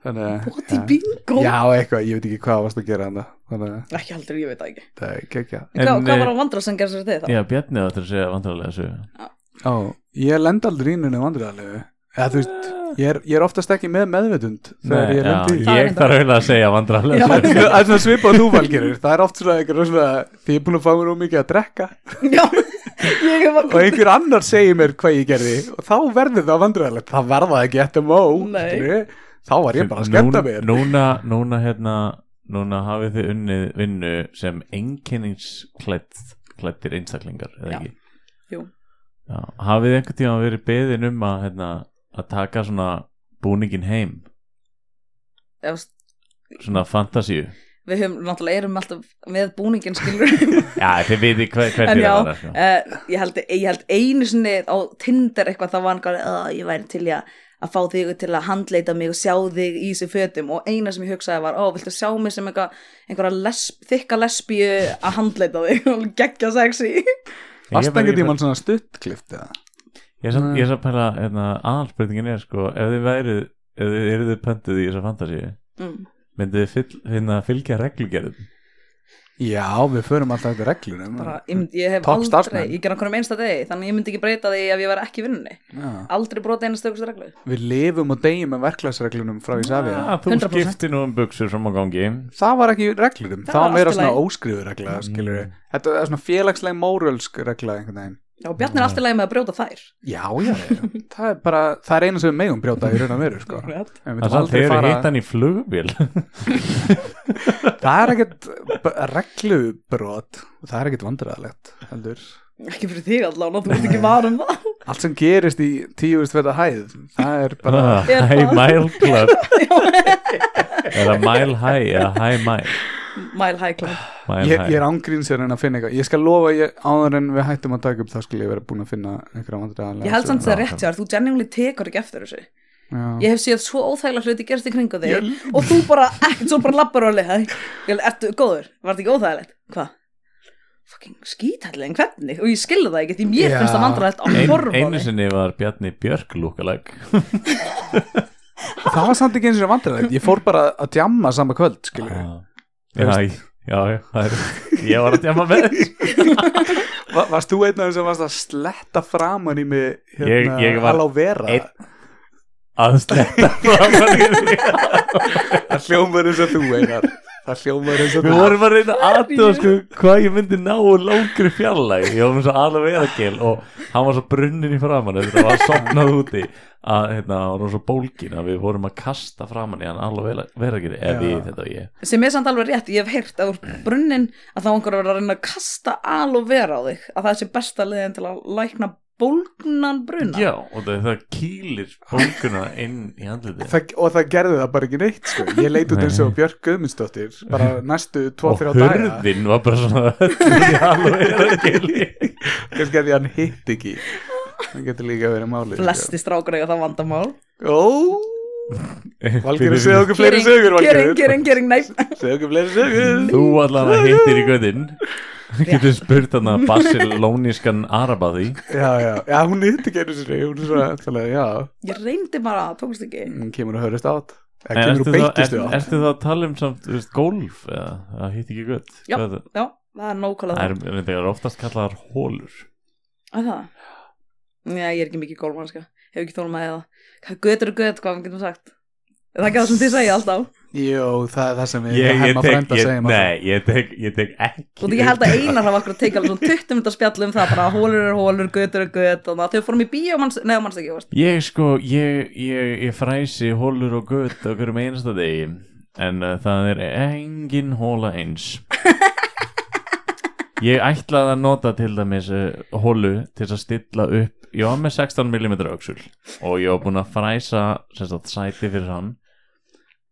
þannig að Bóti já. bingo Já, eitthvað, ég veit ekki hvað varst að gera hann Þannig að ekki heldur, ég veit það ekki það er kekja En, Hvað, hvað eh, var að vandra sem gerði sér þið það? já, Bjarni áttur að segja vandrarlega sögu Ó, ég lend aldrei inn henni vandræðalegu Eða þú veist, Ah. ég er, ég er oftast ekki með meðvetund Þegar Nei, ég lend já, í Það er ég þarf auðvitað að segja vandrarlega Já. sögu Það er svona svipað og þú valgerir Það er oft svona eitthvað svona Því ég er búin að fá mér úr mikið að drekka Já, ég hef Og einhver annar segir mér hvað ég gerði Og þá verður það vandræðalegt Það verða það ekki eftir mó Nei. skilurðu. Þá var ég bara að skemmta mér núna, núna, hérna, núna hafið þið unnið vinnu sem einkenningsklættir einstaklingar eða Já. ekki Jú. Já, hafið þið einhvern tíma verið beðin um að, hérna, að taka svona búningin heim Ef- svona fantasíu Við höfum náttúrulega erum alltaf með búningin skilur já þið veitir hver, En hvernig já, það var sko. uh, ég, held, ég held einu sinni á Tinder eitthvað það var einhver að ég væri til í að að fá þig til að handleita mig og sjá þig í þessu fötum og eina sem ég hugsaði var ó, viltu sjá mig sem einhver, einhverja lesb, þykka lesbíu að handleita þig og geggja sexy Varst bara- ekki bara- tímann Mm. svona stuttklift eða? Ég er samt- Nei. ég er samt pæla, hérna, aðalspurningin er sko, ef þið værið, ef þið eruð pöntuð í þessa fantasíu, mm. myndið þið fyll, hérna, fylgja reglugerðum? Já, við förum alltaf eftir reglunum bara, ég, myndi, ég hef Topp aldrei, starfsmenn. ég ger okkur um einsta degi þannig ég myndi ekki breyta því ef ég væri ekki í vinnunni Já. aldrei brota einasta aukustu reglu Við lifum og deyjum með verklagsreglunum frá Ísafið Ah, þú 100%. skipti nú um buksur fram á gangi Það var ekki reglunum, Það það, var var meira allt í svona lagi. óskrifu regla skilur við, þetta er svona félagsleg mórölsk regla einhvern veginn já, og Bjarni er alltaf leið með að brjóta þær Já, já, já. það er bara, það er eina sem við megum brjóta í raun og veru, sko En við Akkurat. Það myndum er aldrei þeir fara- hitt hann í flugvél Það er ekkert b- reglubrót það er ekkert vandræðalegt, heldur ekki fyrir þig allavega, þú ert ekki varum það Allt sem gerist í tíuðust þetta hæð það er bara, Ah, Er High það- Mile Club Eða Mile High Eða High Mile, mile high club mile ég, high. ég er ángríns að reyna að finna eitthvað, ég skal lofa að ég, áður en við hættum að taka upp, þá skal ég vera búin að finna einhverja vandræðalega ég held samt að það er rétt já. hjá þér, þú genuinely tekur ekki eftir þessu Já, ég hef séð svo óþægilega hluti gerst í kringu þig Ég- og þú bara, ekkert svo bara labbar og leið ég held, ertu góður, var þetta ekki óþægilegt hvað? fucking skítallin, hvernig? og ég skilði það ekki, því mér Já. finnst það vandræðilegt á Ein, Einu horfóni sinni var Bjarni Björk lúkalag það var samt ekki eins og vandræðalegt ég fór bara að djamma sama kvöld, skilur við Ah. Já, ég- já, já það er, Ég var að djama með þér Va varst þú einn af þeim sem varst að sletta framan í mig hérna, Ég- ég var alá vera einn. að sletta fram það hljómar eins og þú einar það hljómar eins og Við þú vorum að reyna aðtöða sko, hvað ég myndi ná úr langri fjarlæg Ég var með svo alveg veðagil og hann var svo brunnin í framann þetta var sopnað úti að hérna, hann var svo bólgin að við vorum að kasta framann í hann alveg veðagil eða við þetta og ég sem er samt alveg rétt, ég hef heyrt að úr brunnin að þá einhver verður að reyna að kasta al og vera á þig, að það sé besta leiðin til að lækna bólgnan bruna Já, og það, það kýlir bólguna inn í andlitið Það, og það gerði það bara ekki neitt sko. ég leit út Nei. eins og Björk Guðmundsdóttir bara næstu og 2-3 daga hurðin var bara svona öll í alveg veðagil kannski að því hann hitt ekki það getur líka verið málið flesti strákur eiga það vandamál sko. ó Valgerður segði okkur fleiri sögur kering, Valgerður kering, kering, nei segði okkur fleiri sögur Þú allavega hittir í göðin Getur spurt hann að basilónískan araba því já, já, já, hún hitt ekki einu sinni hún er svona, þannig að já, ég reyndi bara, tókst ekki hún kemur og hörist átt eða En kemur ertu og þá, beitist er, við átt ertu þá að tala um samt þú veist, golf eða það hitt ekki gött Já. Hvað er það? já, það er nákvæmlega Það er, er, er oftast kallaðar hólur Að það? Já, ég er ekki mikið gólmannska Hef ekki þólum að það Hvað götur er göt, hvað getum sagt Er það ekki það sem þið segja alltaf? Jú, það er það sem ég, ég hef maður frænda að segja ég, Nei, ég tek, ég tek ekki Og því ég held að einar hafa akkur að teika alveg svona 20 minnta spjall um það bara hólur er hólur, götur er göt og það þau fórum í bíó, manns, neða manns ekki, veist Ég sko, ég, ég, ég fræsi hólur og gött á hverjum einasta degi En uh, það er engin hóla eins Ég ætlaði að nota til dæmis uh, hólu til þess að stilla upp Ég var með 16mm öxul og ég var búinn að fræsa sem sagt, sæti fyrir hann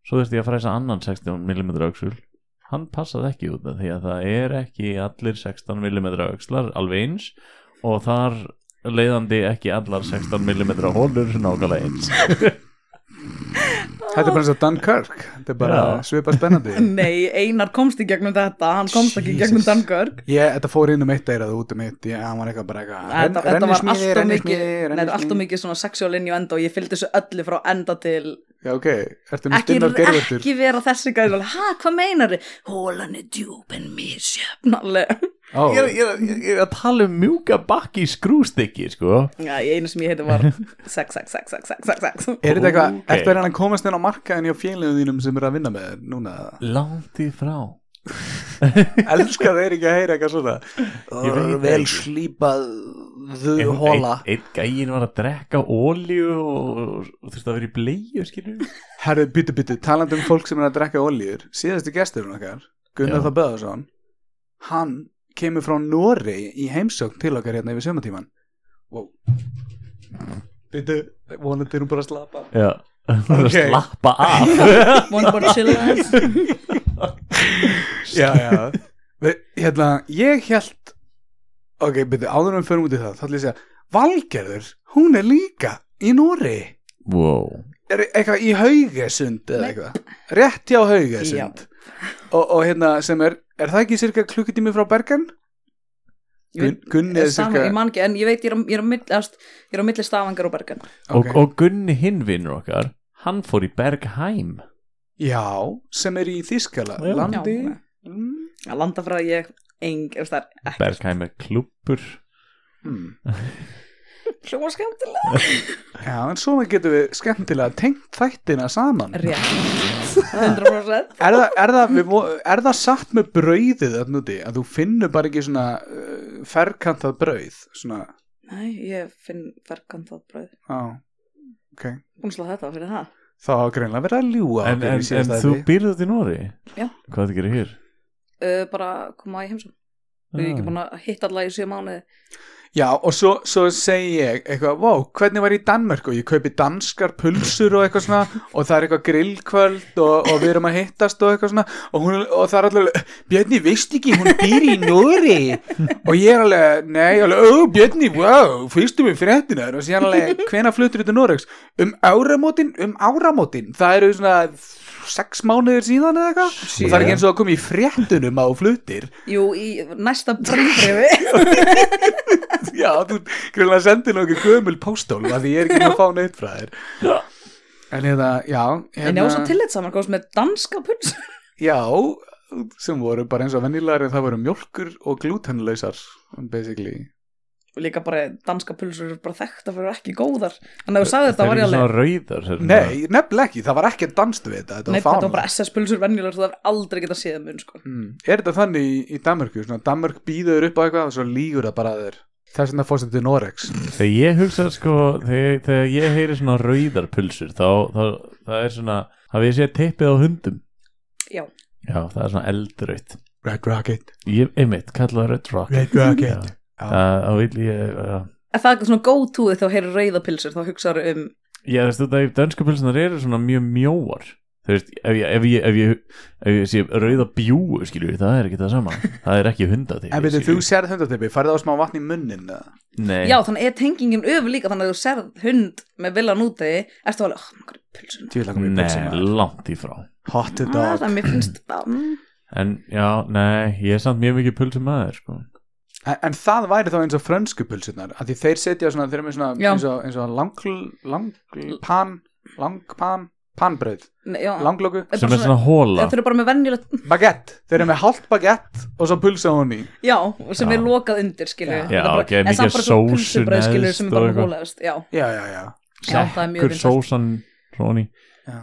Svo þurfti ég að fræsa annan 16mm öxul Hann passaði ekki út af því að það er ekki allir 16mm öxlar alveg eins og þar leiðandi ekki allar 16mm hólur nákvæmlega eins Þetta er bara eins og Dunkirk Þetta er bara Já. svipað spennandi Nei, einar komst í gegnum þetta, hann komst ekki í Jesus. gegnum Dunkirk ég, Þetta fór inn um eitt eirað og út um eitt Ég, hann var eitthvað bara eitthvað Þetta, þetta var allt rennismiði, og mikið, rennismiði, nei, allt og rennismiði. mikið svona sexual innuendo og ég fylgdi þessu öllu frá enda til Já, ok, ertu með ekki, stinnar gerfurtur ekki vera þessi gæði, hæ, hvað meinar þið? Hólan er djúb en misjöfnaleg Ó, ég, er- ég, er- ég, ég er að tala um mjúka bakki skrústykki sko Já, ég einu sem ég heiti var sex, sex, sex, sex, sex, sex, sex. Er þetta eitthvað, Ókei. ertu að reyna að komast inn á markaðin hjá félagum þínum sem eru að vinna með þér núna langt í frá Elskar þeir ekki að heyra eitthvað svona Ég veit það Vel ekki. slípað þau En hóla einn ein gæin var að drekka ólíu og, og, og þurfti að vera í bleiu skilur Herru, byttu, byttu, talandi um fólk sem er að drekka olíur síðasti gesturinn okkar, Gunnar Já. Þór Böðarsson hann kemur frá Noregi í heimsókn til okkar hérna yfir sömatíman wow. Byttu, vonandi er hún bara að slappa já okay. Ok. slappa af One more chill ass. Já, já Við, Hérna, ég held ok, byttu, áður en við förum út í það þá ætlum ég að segja, Valgerður hún er líka í Noregi wow. er eitthvað í haugesund eða eitthvað rétt hjá haugesund og, og hérna sem er er það ekki cirka klukkutími frá Bergen? Ég veit- Gun- Gunni er Sama, cirka ég man ekki, en ég veit, ég er á- ég er á milli, ást, ég er á milli stafangar og bergan. og, Ok. og Gunni hinn vinnur okkar hann fór í Bergheim já, sem er í Þískala Já. landi Já. Mm, að landa frá ég eng, ef það er ekki Bergheim er klúpur hmm. hljóma skemmtilega Já, en svona getum við skemmtilega tengt þættina saman rétt 100% er, það, er, það, við, vo- er það satt með brauðið þarna úti að þú finnur bara ekki svona uh, ferkantað brauð svona, nei, ég finn verkantað bröð á, ok búin að slá þetta á fyrir það þá hafa greinlega verið að ljúga En, en, en þú býrðu þetta í Nóri? Já. Hvað það gerir hér? uh, bara koma í heimsum Ah. við erum ekki búin að hitta alla í sjö mánuði Já, og svo, svo segi ég eitthvað, wow, hvernig var ég í Danmörk og ég kaupi danskar pulsur og eitthvað svona og það er eitthvað grillkvöld og, og við erum að hittast og eitthvað svona og, hún, og það er allir, Björni, veist ekki, hún býr í Nóri og ég er alveg, nei, alveg, ó, Björni, wow, fyrstu með fréttinar og síðan alveg, hvena flutur þetta Noregs? Um áramótin, um áramótin, það eru svona sex mánuðir síðan eða eitthvað og það er ekki eins og að koma í fréttunum á flutir jú, í næsta bröðbrefi Hérna. Já, þú greinlega sendir nú okkur gömul póstól að því ég er ekki með að fá neitt frá þér En hérna, já en ég hérna, á svo tillit saman góðs með danska puls Já, sem voru bara eins og venjulegar en það voru mjólkur og glútenlausar basically og líka bara danska pulsur eru bara þekkta fyrir ekki góðar en ef þú sagði þetta var ég alveg svona rauðar hérna? sem Nei, nefnilega ekki, það var ekki danst við þetta Þetta Mm. Nei, var þetta var fána bara SS pulsur venjulegar þú það er aldrei getað séð mun sko. mm. Er þetta þannig í, í Danmörku? Svona, Danmörk býður upp á eitthvað og svo lígur það bara að þér Þess vegna fórstu til Norex Þegar ég hugsa sko þegar, þegar ég heyri svona rauðar pulsur þá, þá það er svona hafið ég séð teipið á hundum Já. Já, það er svona eldraut Red Rocket Ég, einmitt, kallaði það Red Rock Red Rocket Já. Það þá vil ég já. en það er svona go-to þegar þú heyrir rauða pilsur þá hugsaður um Já, þú veist þetta, dönsku pulsunar eru svona mjög mjóar Þú veist, ef ég, ef ég, ef ég, ef ég sé rauða bjúu, skilur, það er ekki það sama Það er ekki hundateip En betur þú sérð hundatippi, færðu á smá vatn í munnin Nei, Já, þannig er tengingin öfur líka þannig að þú serð hund með villan úti ertu alveg, oh, maður, pulsun nei, Nei, langt í frá hot ah, dog það mér finnst það mm, En já, nei, ég er samt mjög mikið pulsum maður, sko En, en það væri þá eins og frönsku pulsurnar að því þeir setja svona, þeir eru með svona Já. eins og, eins og lang, lang, pan langpan, panbröð nei, já. langlöku, Þetta Sem er svona hóla Þetta eru bara með venjulegt, baguett þeir eru með hálft baguett og svo pulsa hún í já, sem Já. er lokað undir, skilju. Já. Já, ok, mikið sósu pulsubröð, skilju, neðst sem er bara og eitthvað. hólaðist, já. já, já, já, Já, það er mjög Sekkur vinsælt. sósan Róni já.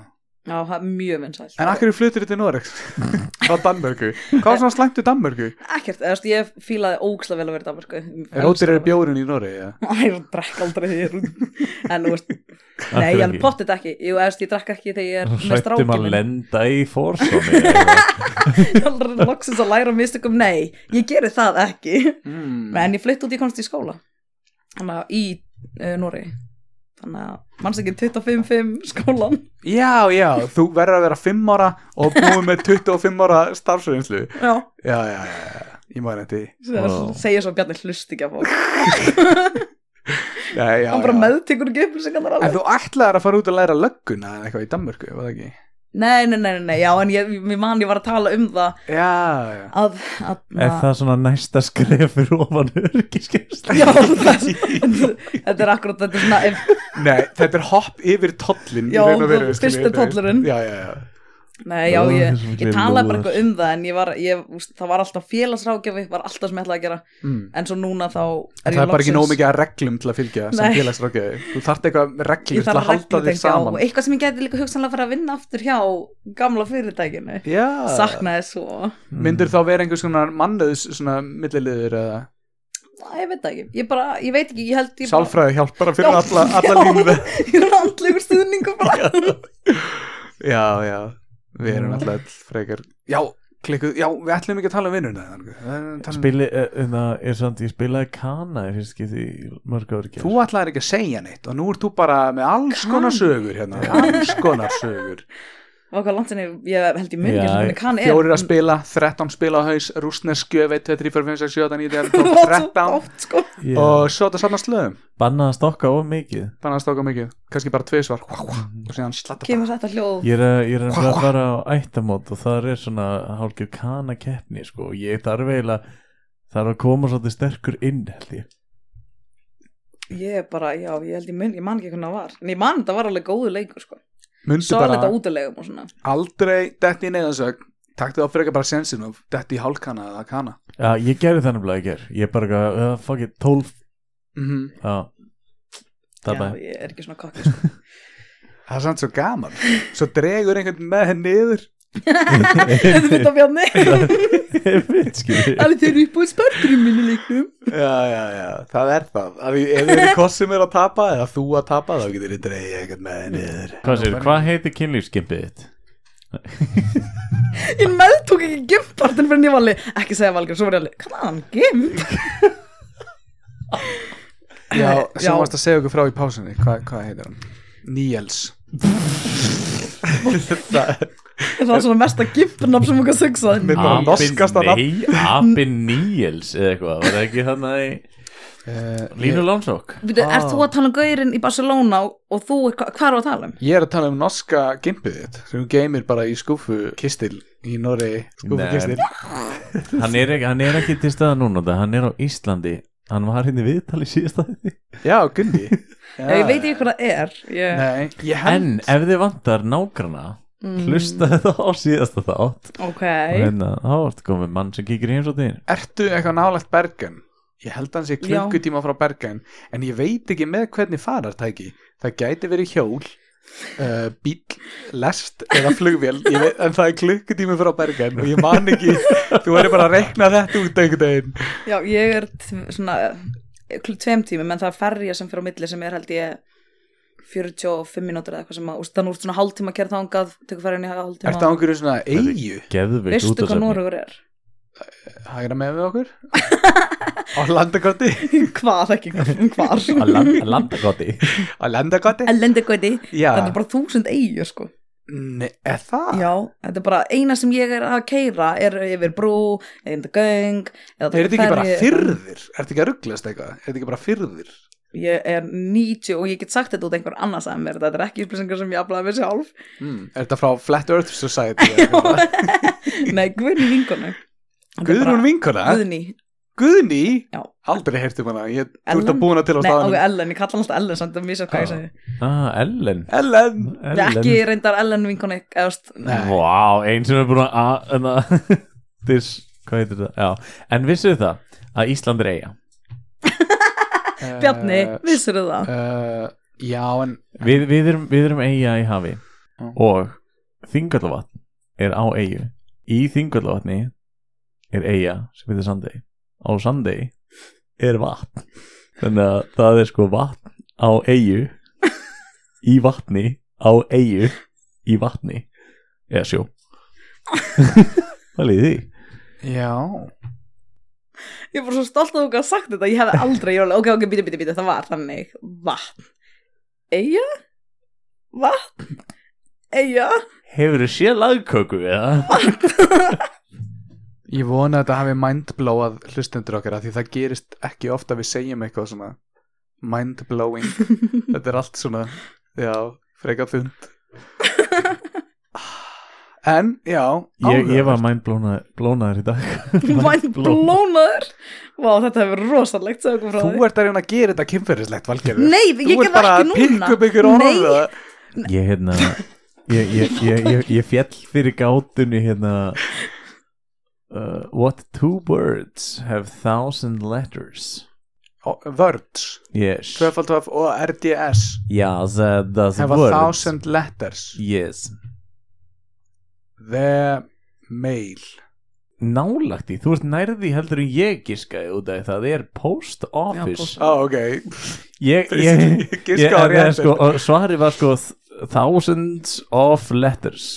Já, það er mjög vinsælt. en akkur flutur þetta í Norex á Danmörku, hvað var svona slæmt í Danmörku Ekkert, eða, þú veist, ég fílaði óksla vel að vera í Danmarku. rótir eru bjórun í Noregi já. Æ, ég drekk aldrei því ég er út. En, þú veist, nei, Akkur ég ekki? pottit ekki. Jú, eða, þú veist, ég drekk ekki þegar ég er með Hrættum að strákinu. lenda í fórsóni Já, Ég er aldrei loksins að læra mistökum, nei, ég geri það ekki. mm. en ég flytt út í konst í skóla þannig að í uh, Nóri þannig að manns ekki 25-5 skólan já, já, þú verður að vera 5 ára og búið með 25 ára starfsreynslu já, já, já, já, já, ég maður þetta í Vá. segja svo að Bjarni hlust ekki að fólk já, já, hann bara já. meðtekur ekki upplýsingarnar En alveg þú ætlaðir að fara út að læra lögguna eða eitthvað í Danmörku, var það ekki? nei, nei, nei, nei, nei, já, en ég, mér man ég var að tala um það Já, já. að, að, Er að það svona næsta skref fyrir ofan örgiskist Já, það, þetta er akkurat þetta er svona, ef, Nei, þetta er hopp yfir tollin Já, þú- fyrsti tollurinn. Já, já, já. nei, já, Ó, ég, þessi ég mikli talaði lúðar. bara eitthvað um það en ég var, ég, úst, það var alltaf félagsrákjafi var alltaf sem ég ætlaði að gera Mm. en svo núna þá er Það er ég bara ekki loksins- nóg mikið að reglum til að fylgja Nei. sem félagsrákjaði. Þú þarft eitthvað ég reglur til þarf að að halda reglutengja þig saman. og eitthvað sem ég geti líka hugsanlega að fara að vinna aftur hjá gamla fyrirtækinu Já, saknaði svo, Mm. myndur þá vera einhvers konar mannöðs svona milliliður eða Æ, ég veit það ekki ég, bara, ég veit ekki, ég held ég bara, sálfræði hjálp bara fyrir Já, alla, alla já. lífið. ég er andlegur stuðningu bara Já, já, við erum alltaf frekar. Já, klikkuð, já, við ætlum ekki að tala um vinnuna. Spil... Spili, eh, en það er samt, ég spilaði kana Ég finnst ekki því mörg ári Þú ætlaðir ekki að segja neitt og nú ert þú bara með alls Kann. konar sögur hérna, alls konar sögur. og hvað landsinni, ég held ég muni Já, ekki hvernig kann er Fjórir að spila, 13 spila á haus, rúsneskjöf, 1, 2, 3, 4, 5, 6, 7, 8, 9, 10, 11, 12, 13 oft, sko. yeah. og svo þetta saman slöðum, Bannaði að stokka of mikið þannig að stóka mikið, kannski bara tvisvar Hua, hua, og síðan slatta kemur þetta hljóð Ég er, að- ég er nefnilega að fara á ættamót og það er svona hálfgjör kana keppni sko. og Ég þarf eiginlega þarf að koma svolítið sterkur inn held ég ég er bara, já, ég held ég muni, ég man ekki hvernig það var en ég man þetta var alveg góðu leikur sko. Mundu svo er þetta bara útilegum og svona aldrei detti í neyðasög taktu það frekar bara sensin of detti í hálkana eða kana Já, ég gerði það nefnilega, ég ger Ég bara, eitthvað, uh, fuck it, 12 mm Mhm. Já, það Já, bæði ég er ekki svona kokki sko. það er samt svo gaman svo dregur einhvern með henni yfir Þetta er þetta bjarni Skilji Allir þeir eru upp á spörturum mínu leiknum já, já, já, það er það Af því ef þið eru kossum er að tapa eða þú að tapa þá getur þið dreigja einhvern með henni yfir Hvað sér, hvað heitir kynlífskympið þitt? Ég meðtók ekki gimpartin fyrir nývalli Ekki segja valgjörn, svo var ég alveg Hvað hann, gimp? já, Eh, Já. sem varst að segja okkur frá í pásunni hvað hva heitir hann? Níels Það var svona mesta gimpnafn sem okkar sögsaði Minn- Þetta var norskasta nei, Abin Níels eða eitthvað Var það ekki þarna í uh, Línu Lónsók? Býtu, ert þú að tala um gaurinn í Barcelona og, og þú, er- hva- hvað er að tala um? Ég er að tala um norska gimpið þitt sem þú geymir bara í skúfu kistil í Noregi skúfu Nei. kistil Hann er ekki, hann er ekki til staða núna það, Hann er á Íslandi Hann var hérna í viðtali síðast að Já, Gundi já, Ég veit ekki hvað það er ég... Nei, ég En held ef þið vantar nágrana Mm. Hlusta þetta á síðasta þátt Mm, Ok Og hérna, þá ertu komið mann sem kíkir í heimsóttin Ertu eitthvað nálægt Bergen? Ég held hans ég Já. klukkutíma frá Bergen en ég veit ekki með hvernig farartæki Það gæti verið hjól uh, bíl, lest eða flugvél Ég veit, en það er klukkutími frá Bergen og ég man ekki þú verður bara að rekna þetta út einhvern veginn Já, ég er tv- svona eh, kl- tveim tímum, en það er ferja sem fyrir á milli sem er held ég 45 mínútur eða eitthvað sem að, úst, þannig úr svona hálftíma kerð þangað, tekur ferjan í hálftíma Ertu á einhverju svona eigu Geðveikt Veistu hvað útvarpsefni. Noregur er? hægra með við okkur á landakorti Hvað ekki, hvar? Að lan- að landa goti á landakorti Elendegöti Já. Ah. Það er bara þúsund eigur sko Nei, er það? Já, þetta er bara eina sem ég er að keira er yfir brú, eða göng Er eða þetta ekki taka bara ferju. fyrðir? Er þetta ekki að rugglast eitthvað? Er þetta ekki bara fyrðir? Ég er 90 og ég get sagt þetta út einhver annars að mér, þetta er ekki upplýsingar sem ég aflaði mér sjálf Mm. Er þetta frá Flat Earth Society? eða eitthvað? Nei, Guðni vinkonu Þetta er Guðrún bara- vinkona? Guðni, Guðni? Já. Aldrei heyrtum hana, ég, þú Ellen? ert að búna til á nei, ok, staðanum. Ellen, ég kalla hann alltaf Ellen samt að mísa hvað ég Já. segi Ah, Ellen Ellen! Ég er ekki reyndar Ellen vinkonu eða, veist, Nei. Vá, einn sem er búin að en að- This, hvað heitir það? Já, en vissuðu það að Ísland er eiga Bjarni, Eh, vissirðu það? eh, já, en Við, við, erum, við erum eiga í hafi Já. og Þingallavatn er á eigu Í Þingallavatni er eiga sem heitir Sandey Á Sandey er vatn Þannig að það er sko vatn á eigu Í vatni á eigu Í vatni Eða sjó Það líði því já, Ég er bara svo stolt að þú gaf sagt þetta, ég hefði aldrei, ég var alveg, ok, ok, býti, býti, býti, það var þannig, vatn, eiga, vatn, eiga, Hefur þið séð lagköku eða? ég vona að þetta hafi mindblowað hlustendur okkar af því það gerist ekki ofta við segjum eitthvað svona mindblowing þetta er allt svona, já, frekar þund en, já Ég, ég var áhugavert. mænblónaður í dag væn blónaður, vá, þetta hefur verið rosalegt, segðu okkur frá Þú ert að reyna að gera þetta kynferðislegt, Valgerður Nei, ég Þú gerði ert bara það að ekki núna. pikka upp ykkur Nei. orða Ég hérna Ég, ég, ég, ég, ég fjall fyrir gátunni hérna uh, What two words have thousand letters? Words, Yes 2x2 og RDS Yeah, that, that's Have a words thousand letters Yes The mail Nálagt í, þú ert nærði heldur en ég giskaði út af því, það er post office post office. Ó, Ah, ok Ég, ég, Ég ég, giska á ég, rétt sko, og svarið var sko thousands of letters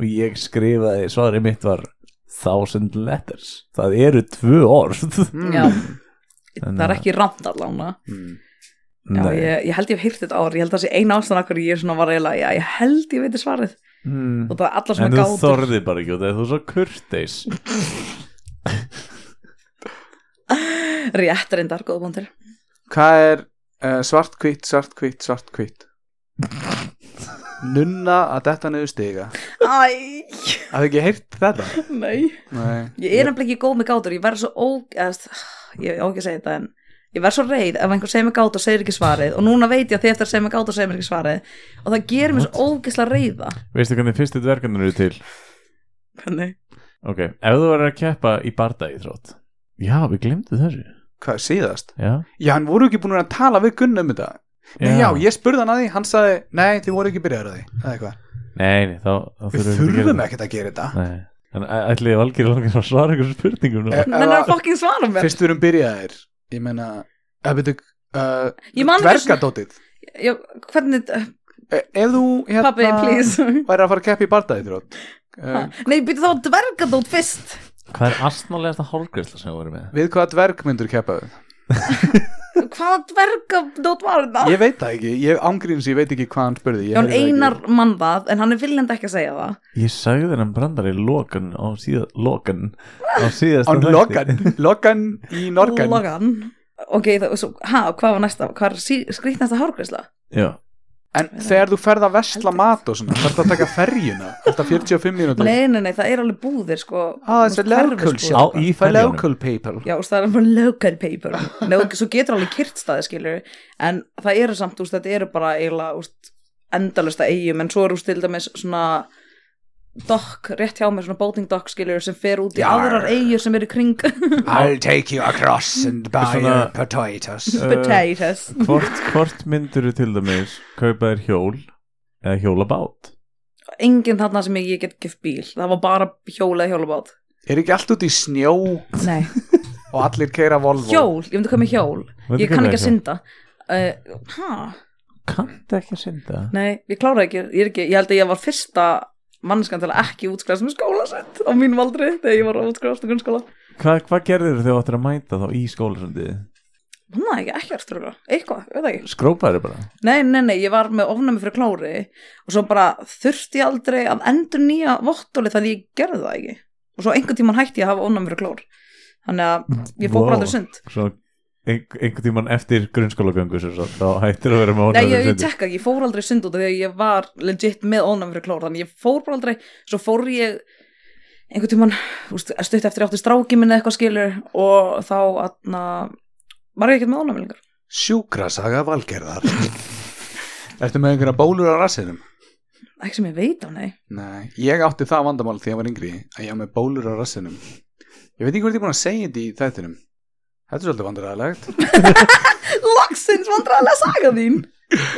og ég skrifaði, svarið mitt var thousand letters það eru tvö orð Mm. Já, það er Þannig að- ekki ramt allána. Mm. Já, Nei. ég, ég held ég hef hýrt þetta ár, ég held það sé eina ástæðan akkur ég er svona var eiginlega, já, ég held ég veitir svarið. mm. Og það er allar en svona þú gátur. þorði bara ekki og það er þú svo kurteis Rétt reyndar, góða bóndir. Hvað er uh, svart hvít, svart hvít, svart hvít Nunna að detta niður stiga Æ, Hafði ekki heyrt þetta? nei. Nei Ég er nefnilega ekki góð með gátur, ég verð svo óg... eðst, Ég á ekki að segja þetta en ég verð svo reið ef einhver segir mig gátur og segir ekki svarið og núna veit ég að þið eftir að segja mig gátur og segir mér ekki svarið og það gerir mér svo ógislega reiða. veistu hvernig fyrstu dvergarnir eru til Hvernig? ok, ef þú verður að keppa í bardagi þrótt já, við glemdu þessu Hvað, síðast? já, Já, hann voru ekki búin að tala við Gunn um þetta Nei, já, ég spurði hann að því, hann sagði Nei, þið voru ekki byrjaður að því, eða eitthvað nei, nei, þá, þá Við þurfum ekkert að gera þetta Nei. En ætliði valgir langar að svara einhverjum spurningum núna? Eh, menn er að fucking svara mér Fyrst við erum byrjaðir Ég meina, að byrju uh, Ég man ekki- Dvergadótið já, hvernig, Eh, Ef þú hérna pappi, please væri að fara að keppa í bardaði þrótt Ha, uh, nei, byrju þá dvergadót fyrst Hvað er astnalegasta hálgræsla sem þú voru með? Við hvaða dverg myndur keppa við? hvaða dvergadót var þetta? Ég veit það ekki, ég ángríns, ég veit ekki hvað hann spurði Ég já, hann heyrði það ekki. einar mann það en hann er viljandi ekki að segja það Ég sagði þennan brandari Logan á síða Logan á síðasta Án þætti. Logan, Logan í Norgan Logan ok, það, svo, ha, hvað var næsta hvað er sí, skrýtnasta hárgræsla Já, En þegar þú ferð að vesla mat og svona Þarf að taka ferjuna, þetta 45 mínútur nei, nei, nei, það er alveg búðir sko Ah, þú þessi veist, hverfis, local sko. shop. Á- shopper. í For ferjunum. local people já, og það er bara local paper nei, og svo getur alveg kyrtstaði skilur en það eru samt, úst, þetta eru bara eiginlega úst, endalust að eigum en svo eru úst, til dæmis svona dock, rétt hjá mér, svona boating dock skilur sem fer út í Jar. aðrar eigur sem eru kring I'll take you across and buy Svona- your potatoes potatoes hvort, hvort myndur þú til dæmis kaupa þér hjól eða hjólabát? enginn þarna sem ég get gift bíl það var bara hjól eða hjólabát Er ekki allt út í snjó nei og allir keira Volvo hjól, ég myndi koma með hjól Myndi ég kann kaupa ekki að þér synda uh, ha, Kanntu ekki að synda? nei, ég klára ekki ég, er ekki ég held að ég var fyrsta mannskan til að ekki útskrifast með skóla sitt á mínum aldri þegar ég var að útskrifast á grunnskóla Hva, hvað gerðir þú þegar þú ættir að mæta þá í skólasundið? manna ekki, ekki eftir örugglega. eitthvað, ég veit það ekki Skrópaður bara? nei, nei, nei, ég var með ofnæmi fyrir klári og svo bara þurfti ég aldrei að endur nýja vottóli þannig ég gerði það ekki og svo einhvern tíman hætti ég að hafa ofnæmi fyrir klór þannig að ég fór Vá. bara aldrei sund Svo ein, einhvern tímann eftir grunnskólagöngu sem svo, þá hættir að vera með Nei, ég, ofnæmi ég tekka ekki, ég fór aldrei í sund út af því að ég var legit með ónæmi fyrir klór þannig ég fór bara aldrei, svo fór ég einhvern tímann úst, stutt eftir ég átti stráki minni eitthvað skilur og þá atna, var ég ekkert með ónæmi lengur Sjúkrasaga valgerðar Ertu með einhverja bólur á rassinum? ekki sem ég veit af, nei Nei, ég átti það vandamál því ég var yngri að ég var með bólur á rassinum Ég veit ekki hvort ég er búin að segja þetta í þættinum Þetta er svolítið vandræðilegt Loksins vandræðilega saga þín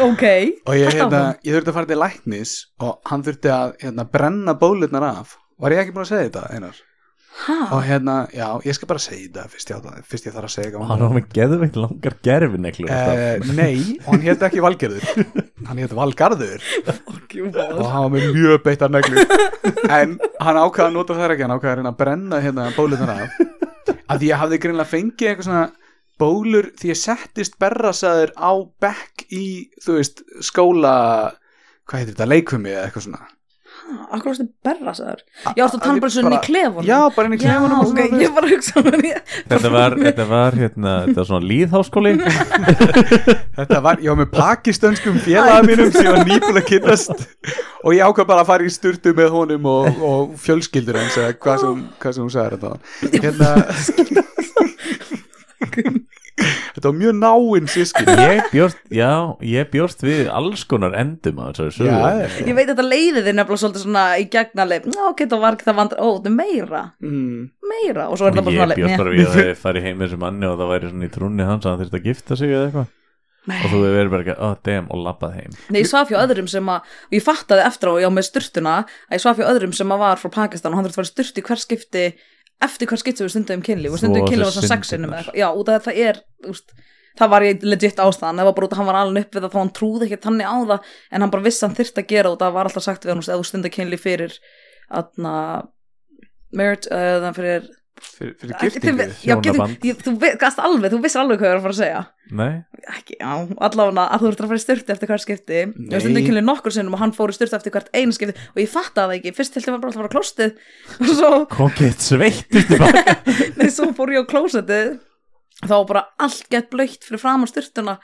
Ok, Og ég, Haltu hérna, áfram. ég þurfti að fara til læknis og hann þurfti að hérna, brenna bólurnar af Var ég ekki búin að segja þetta, Einar? ha, Og hérna, já, ég skal bara segja þetta fyrst ég, á það- fyrst ég þarf að segja eitthvað Hann á með geðveikt langar gerfin Eh, nei, og hann hétt ekki Valgerður hann hétt Valgarður og okkjúból hann var með mjög beittar neglu en hann ákvaði að nota þær ekki hann ákvaði að reyna að brenna hérna bólunar af að því ég hafði greinlega fengið eitthvað svona bólur því ég settist berrasaður á bekk í, þú veist, skóla hvað heitir þetta, leikfumi eða eitthvað svona Akkur ástu berra sæður Já, að ertu að tala ég bara svona í bara- klefunum já, bara inn í Já, klefunum og ok, svona, þú veist. ég bara hugsa hann Þetta var, þetta var, hérna, þetta var svona líðháskóli Þetta var, ég var með pakistanskum félaga mínum sem ég var nýbúin að kynnast og ég ákvað bara að fara í sturtu með honum og, og fjölskyldur hans eða hvað sem, hvað sem hún sagði þetta hérna, Þetta var mjög náinn sískin Ég bjóst, já, ég bjóst við alls konar endum á þessari sögu Já, Ég veit að þetta leiði þið nefnilega svolítið svona í gegnaleg Ná, ok, það var ekki það vandra, ó, þetta er meira mm, meira Og svo er það bara Ég svona bjóst "Meh." E bara við að það færi heim með þessu manni og það væri svona í trúnni hans að hann þurfti að gifta sig eða eitthvað Nei. og þú hefur verið bara ekki, oh damn, og labbað heim Nei, ég svaf hjá öðrum sem að og ég fattaði eftir á, já, með sturtuna að ég svaf hjá öðrum sem að var frá Pakistan og hann þurfti að fara í sturtu í hver skipti eftir hver skipti sem við stundum kynlíf og stundum Svo kynlíf var þessi svona sexinum syndirnar. eitthvað, já, út af því að það er úst, það var ég legit ástæðan, það var bara út af að hann var alveg upp við það þá hann trúði ekki þannig á það en hann bara vissi að hann þyrfti að gera og það var alltaf sagt við hann, úst, ef þú stundar kynlíf fyrir atna, merit, uh, þannig fyrir fyrir, fyrir giftingu Þið- já, giftingu, hjónaband. ég- þú ve- gast alveg, þú vissir alveg hvað ég var að fara að segja Nei, ekki, já, allavega að þú ert að fara í styrtu eftir hvert skipti Nei. ég var stundin kynlið nokkur sinnum og hann fór í styrtu eftir hvert einu skipti og ég fattaði það ekki, fyrst held ég var bara alltaf að fara á klóstið og svo, kom gett sveitt tilbaka nei, svo fór ég á klósetið þá var bara allt gett blöytt fyrir fram á styrtuna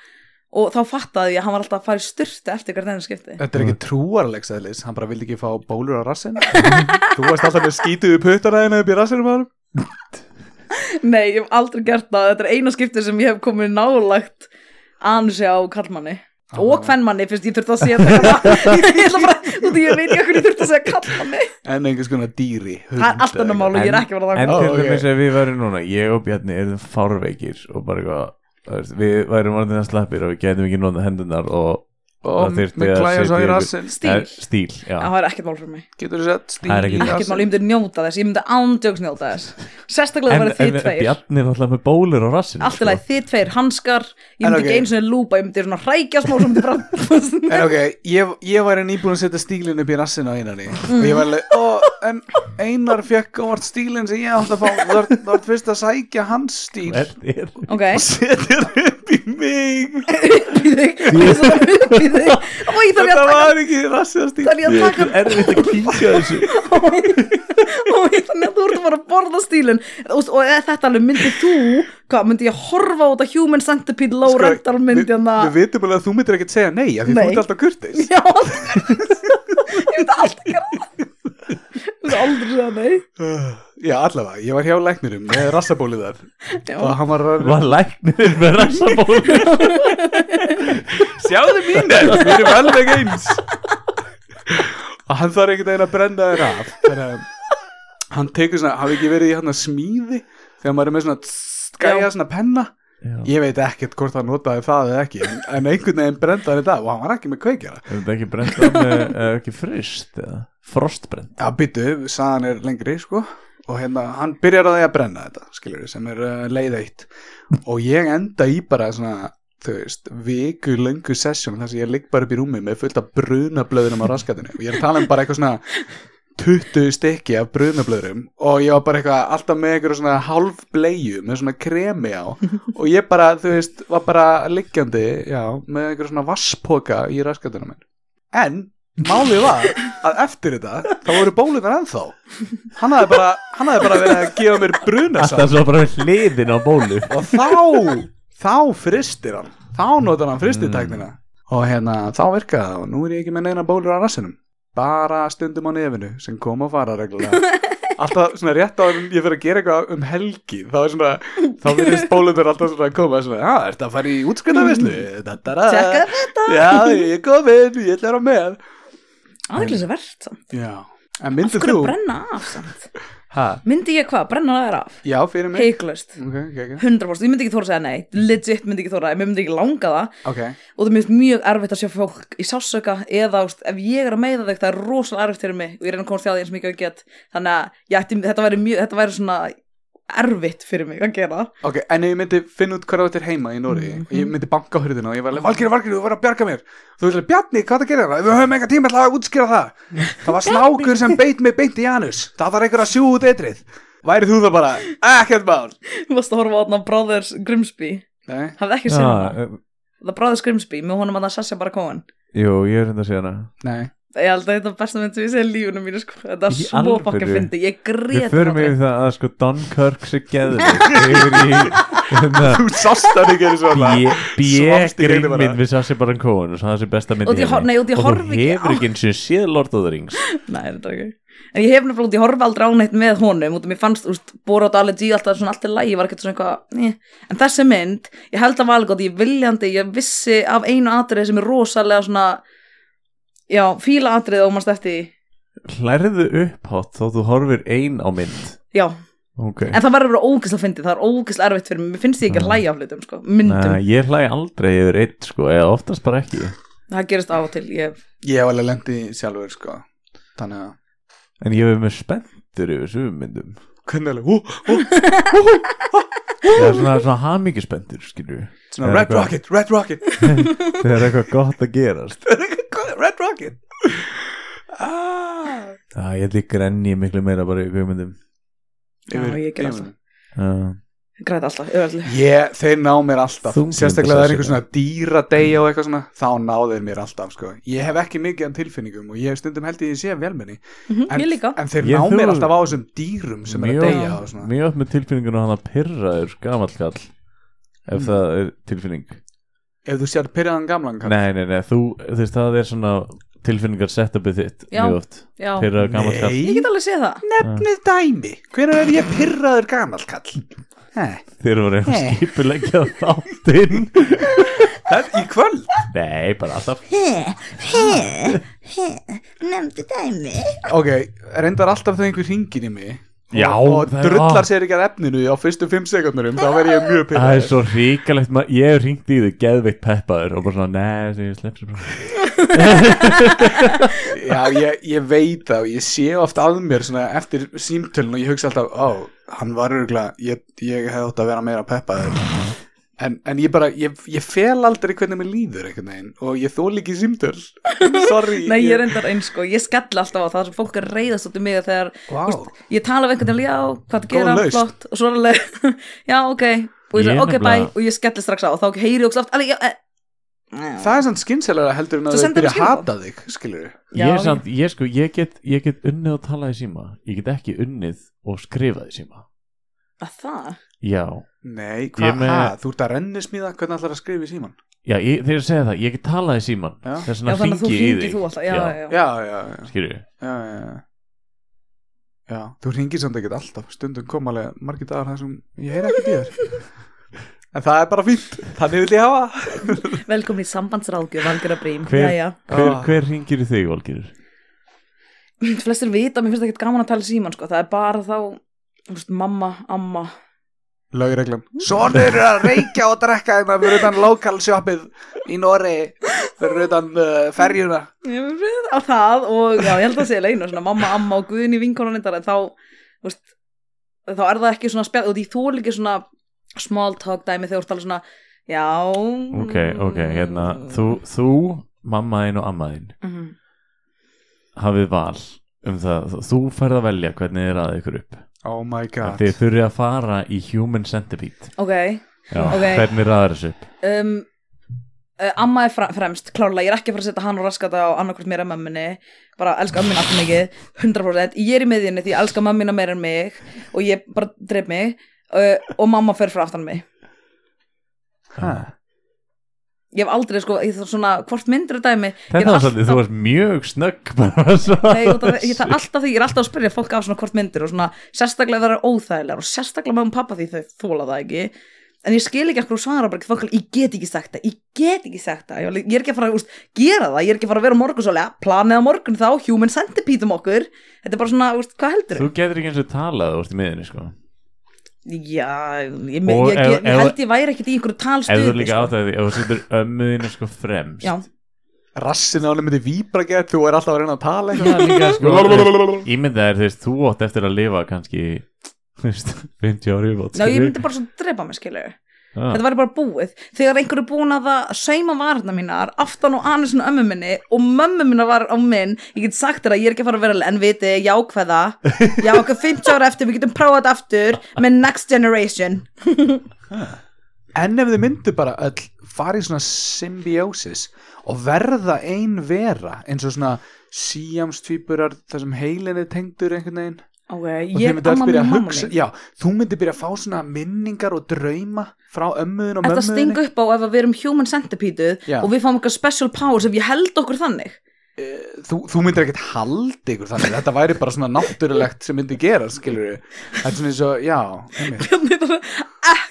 og þá fattaði ég að hann var alltaf að fara í styrtu eftir hvert einu skipti Þetta er ekki trúarlegs eðlis, hann bara vildi ekki fá bólur á rassin Þú varst alltaf með skítuðu puttanaðina upp í rassinum á hann nei, ég hef aldrei gert það, þetta er eina skipti sem ég hef komið nálagt ansi á kallmanni og hvernmanni fyrst ég þurfti að segja þetta ég ætla bara, þú veit, ég veit ekki hvernig ég þurfti að segja kallmanni en einhvers konar dýri hund, það er allt annað mál og ég er ekki verið að En það til ok. dæmis ef við værum núna, ég og Bjarni erum fárveikir og bara eitthvað þú veist, Við værum orðin að slappir og við gætum ekki notað hendunar og og Það með þyrfti að klæja svo setja í yfir- rassinn Stíl. Eh, stíl já. það er ekkert mál fyrir mig getur þú sett stíl Það er ekkert í mál. ekkert mál, rassinn ég myndi njóta þess, ég myndi ándjóks njóta þess sérstaklega En, það en var þið tveir Bjarni er alltaf með bólur á sko. rassinu allt í lagi þið tveir, hanskar, ég En myndi ok. ekki eins og lúpa, ég myndi svona hrækja smá sem myndi bara En ok, ég, ég væri nýbúin að setja stílinn upp í rassin á einari og ég væri alveg, ó, en einar fekk og vart stílinn sem ég átt að fá þú ert- þú ert fyrst að sækja hans stíl og Hvernig ok, setja upp í mig upp í þig og svo upp í þig og ég þetta þarf ég að taka var ekki rassin stíl þarf ég að taka er erfitt að kíkja á þessu og ég þannig að þú ert að fara að borða stílinn og, og eða þetta alveg myndi þú hvað, myndi ég horfa á þetta human centipede low rental myndi Sko, við, hann við að vitum alveg að þú myndir ekkert segja nei af því þú hérna- Nei. ert alltaf kurtis já, ég myndi alltaf gera það ég myndi aldrei segja nei já, allavega, ég var hjá læknirum með rassabólið þar Já. og hann var að Var læknir með rassaból sjáðu mín þér, við erum alveg eins og hann þarf einhvern veginn að brenda þér af þannig að hann tekur svona, hafi ekki verið í hann smíði þegar maður er með svona tss, gæja Já. svona penna ég veit ekkert hvort hann notaði það eða ekki en, en einhvern veginn brenda hann þetta og hann var ekki með kveikjara Er þetta ekki brent af með, er ekki frist eða frostbrent Já, byttu, sagan er lengri, sko og hérna, hann byrjar á því að brenna þetta skilur sem er uh, leið eitt og ég enda í bara svona þú veist, viku löngu sessjón þar sem ég ligg bara upp í rúmi með fullt af brunablöðurum á raskatinu og ég er að tala um bara eitthvað svona 20 stykki af brunablöðurum og ég var bara eitthvað alltaf með eitthvað svona hálf bleiu með svona kremi á og ég bara, þú veist, var bara liggjandi, já, með eitthvað svona vasspoka í raskatinu minn en Málið var að eftir þetta þá voru bólunar ennþá hann hafði bara, hann hafði bara verið að gefa mér brunasand Alltaf svo bara við hliðin á bólu og þá, þá fristir hann þá notar hann fristitæknina og hérna þá virkaði það og nú er ég ekki með neina bólur á rassinum bara stundum á nefinu sem kom og fara reglulega alltaf svona rétt á en ég fyrir að gera eitthvað um helgi þá er svona, þá virðist bólunar alltaf svona að koma svona, já, ertu að fara í útskriðavislu Tjekka tjekka Mm. þetta já, ég er komin, ég ætla að vera með aðeins er verðt samt Já, en af myndir hverju þú? brenna af samt Ha? myndi ég hvað, brenna það af Já, fyrir mig heiklaust Ok, ok, ok 100% ég myndi ekki þóra að segja nei legit myndi ekki þóra, mér myndi ekki langa það Ok, og það er mjög, mjög erfitt að sjá fólk í sásöka eða úst, ef ég er að meiða þau það er rosalega erfitt fyrir mig og ég reyna að komast hjá því eins mikið og ég get þannig að ég ætti, þetta, væri mjög, þetta væri svona erfitt fyrir mig að gera ok, en ef ég myndi finna út hvað þetta er heima í Nóri og ég myndi banka á hurðina og ég var alveg Valgeri, Valgeri, Mhm. þú verður að bjarga mér Þú veist, Bjarni, hvað það gerir það? hérna? Við höfum enga tíma til að útskýra það Það var snákur sem beit mig beint í Janus Það var einhver að sjú út eitrið Væri þú það bara, ekkert mál Þú varst að horfa á þarna Brothers Grimsby Nei, hafði ekki séð hana, Já, eh, það er Brothers Grimsby með honum að það sessja bara kóin Jú, ég er hérna að segja hana nei ég held að þetta er besta mynd sem ég sé í lífunum mínu sko. þetta er Í svo bakka alvöru? fyndi, Við ég grét förum yfir aldrei. það að sko Dunkirk sé geðvikt yfir í hérna Þú sást það ekki eins og B- Svamst í B-grinn einu bara. minn við Sassi Baron Cohen og það er þessi besta mynd Og því í hor- heimi. nei, og því og horfi þú ekki hefur á- ekki eins og séð Lord of the Rings Nei, þetta er ekki En ég hef nefnilega út, ég horfa aldrei á neitt með honum út og mér fannst, úst, Borat Allergy alltaf svona allt í lagi, ég var ekkert svona eitthvað eh. en þessi mynd, ég held að valga því ég viljandi, ég vissi af einu atriði sem er rosalega svona já, fíla atriði og mannst eftir því. Hlærðu upphátt þó þú horfir ein á mynd já, Ok en það verður að vera ógæsla fyndið, það er ógæsla erfitt fyrir mig, mér finnst ég ekki að hlæja af hlutum, sko, myndum, Nei, ég hlæ aldrei yfir eitt sko eða oftast bara ekki það gerist á og til ég, Ég hef alveg lendi sjálfur, sko Þannig að En ég hef með spenntur yfir sögum myndum Hvernig alveg, hú, hú, Það er svona, svona hamingispendur skilju svona Red Rocket, Red Rocket Það er eitthvað gott að gerast Red Rocket ah. Já, ég held ég grenni miklu meira bara í kveikmyndum Já, ég gerði alltaf. uh, græt alltaf, öðvöldlega Ég, þeir ná mér alltaf Þunglyndi Mm. Sérstaklega það er sessi. einhver svona dýra degja og eitthvað svona Þá ná þeir mér alltaf sko Ég hef ekki mikið an tilfinningum og ég hef stundum held ég sé velmenni en, Mhm, ég líka, en þeir Ég ná mér þurfa- alltaf á þessum dýrum sem er að degja og svona mjög oft með tilfinninguna hann að pyrraður gamallkall ef Mm. það er tilfinning Ef þú sér pyrraðan gamlan kall Nei, nei, nei, þú, þú veist, það er svona tilfinningar setupið þitt Já. mjög oft já, fyrir að gammal kall ég Nei, get alveg séð það Ah. nefnið dæmi Hvenær er ég pyrraður gamall kall? Hæ, þeir voru eitthvað Nei. skipulegja þáttinn Þetta í kvöld? Nei, bara alltaf Nefndu dæmi Ok, reyndar alltaf þegar einhver hringir í mig Já, og, og það er- drullar ah. sér ekki að efninu á fyrstu fimm sekundurum þá verð ég mjög Það er pyrraður svo ríkalegt ma- Ég hef ringt í þau geðveikt peppaður og bara svona, nei, þessi, ég slepp sér bara Já, ég, ég veit það og ég sé oft að mér svona, eftir símtölun og ég hugsa alltaf ó, hann var örgulega, ég, ég hefði ótt að vera meira peppaður en, en ég bara, ég, ég fel aldrei hvernig mér líður einhvern veginn og ég þól ekki símtöl Sorry Nei, ég er endar eins sko, ég skella alltaf á það sem fólk er reyðast út um mig þegar Vá. þú veist, ég tala af einhvern veginn, já, hvað það gera, Góð lausn. flott og svo er alveg, já, ok og ég Ég sagði, er ok, bye, nefnilega- og ég skelli strax á og þá heyri ég ógst oft, alveg, já, eh, Það er sann skynselegra heldur en Þú að þau sendir byrja mér að hata þig skilur Já, Ég er ég- samt, ég sko, ég get, ég get unnið og talað í síma Ég get ekki unnið og skrifað í síma að það Já, Nei, Ég hvað, með- ha, þú ert að rennismíða hvernig allar að skrifa í síman já, ég, þegar ég segi það, ég get talað í síman Já. Þess Já, vegna þannig að þú hringi ég í hringi þig þú alltaf, já, já, já, Já, já, já Skilju, já, já, já. já þú ringir samt ekkert alltaf stundum kom alveg margir dagar þar sem ég heyri ekki þér en það er bara fínt, þannig vil ég hafa Velkomin í sambandsráðgjöf, Valgjara Brím Hver- Jæja. hver, Ah. hver hringir í þig, Valgerur? Flestir vita, að mér finnst ekkert gaman að tala í síman sko. það er bara þá, þú veist, mamma, amma lögreglan Svonur er að reykja og drekka þeim fyrir utan lokalsjópið í Nóri fyrir utan uh, ferjuna Ég hef verið á það og já, ég held að það sé leina svona mamma, amma og guðin í vinkonanindar en þá, þú veist, þá er það ekki svona spjall og því þú er ekki svona small talk dæmi þegar þú ert alveg svona já mm. Ok, ok, hérna, þú, þú, mamma þín og amma þín Mhm. hafið val um það, þú færð að velja hvernig þið raðið ykkur upp Oh my god Þið þurfið að fara í Human Centipede ok, Já, Ok. hvernig raðar þessu upp um, uh, amma er fra- fremst klárlega, ég er ekki að fara að setja hann og raskata á annarkvort mér en mömmunni, bara elska ömmina alltaf mikið, 100% ég er í miðjunni því ég elska mömmina meir en mig og ég bara dreif mig uh, og mamma fer frá aftan mig Ha, ég hef aldrei sko, ég þarf svona hvort myndur dæmi, ég Þetta er var svolítið, þú alltaf varst mjög snögg bara svo Nei, út af því- ég þarf alltaf því, ég er alltaf að spyrja fólk af svona hvort myndir og svona sérstaklega það er óþægilegar og sérstaklega með um pappa því þau þóla það ekki en ég skil ekki eitthvað svara bara fólk, ég get ekki sagt það, ég get ekki sagt það ég var lí- ég er ekki að fara að úst, gera það, ég er ekki að fara að vera á morgun svolítið, planið á morgun þá, human centipede um okkur þetta er bara svona, úst, hvað heldur Þú getur ekki eins og talað þú varst í miðinni sko Já, ég, ég, Og ég, ef- ég, ég ef- held ég væri ekkit í einhverju Ef þú talstuði líka áttæði því, ef þú setur ömmuðinu sko fremst sko. Já, Rassin á henni myndi víbra gett þú er alltaf að reyna að tala Það er líka sko eitthvað Ímynda er þú veist, þú átt eftir að lifa kannski þú veist, 50 ári Ná, ég myndi bara svona drepa mig, skilur þetta væri bara búið þegar einhver er búin að það sauma varna mínar aftan og anisinn ömmu minni og mömmu minna var á minn ég get sagt þér að ég er ekki að fara að vera en viti jákvæða, já okkur 50 ára eftir við getum prófað þetta aftur með next generation En ef þið myndu bara öll fara í svona symbiosis og verða ein vera eins og svona síamstvíburar þar sem heilin er tengdur einhvern veginn ok, og ég þið myndu öll amma mín byrja að mamma hugsa mín já, þú myndu byrja að fá svona minningar og drauma frá ömmuðin og Þetta sting mömmuðin upp á ef að við erum human centipede Já. og við fáum eitthvað special powers ef ég held okkur þannig þú, þú myndir ekkert halda ykkur þannig þetta væri bara svona náttúrulegt sem myndi gera skilur við, þetta er svona eins og já, einmitt.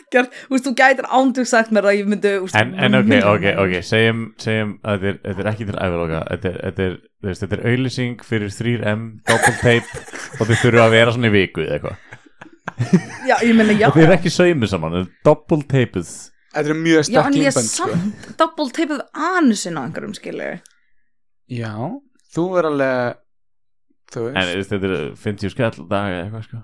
ekkert, þú veist, þú gætir ándug sagt mér að ég myndi þú veist, En, en ok, milljón ok, ára. ok, segjum, segjum að þetta er, þetta er ekki til æfirloka þetta er, þetta er, þú veist, þetta er auðlýsing fyrir 3M, double tape og þið þurfa að vera svona í viku eða eitthvað já, ég meina, já, og þið er ekki saumu saman, þetta er double tapeð þetta er mjög já, sterk en ég límbönd samt sko. double tapeð anusin á einhverjum skilju já, þú er alveg þú en þú veist, veist, þetta er 50 skall á dag eða eitthvað sko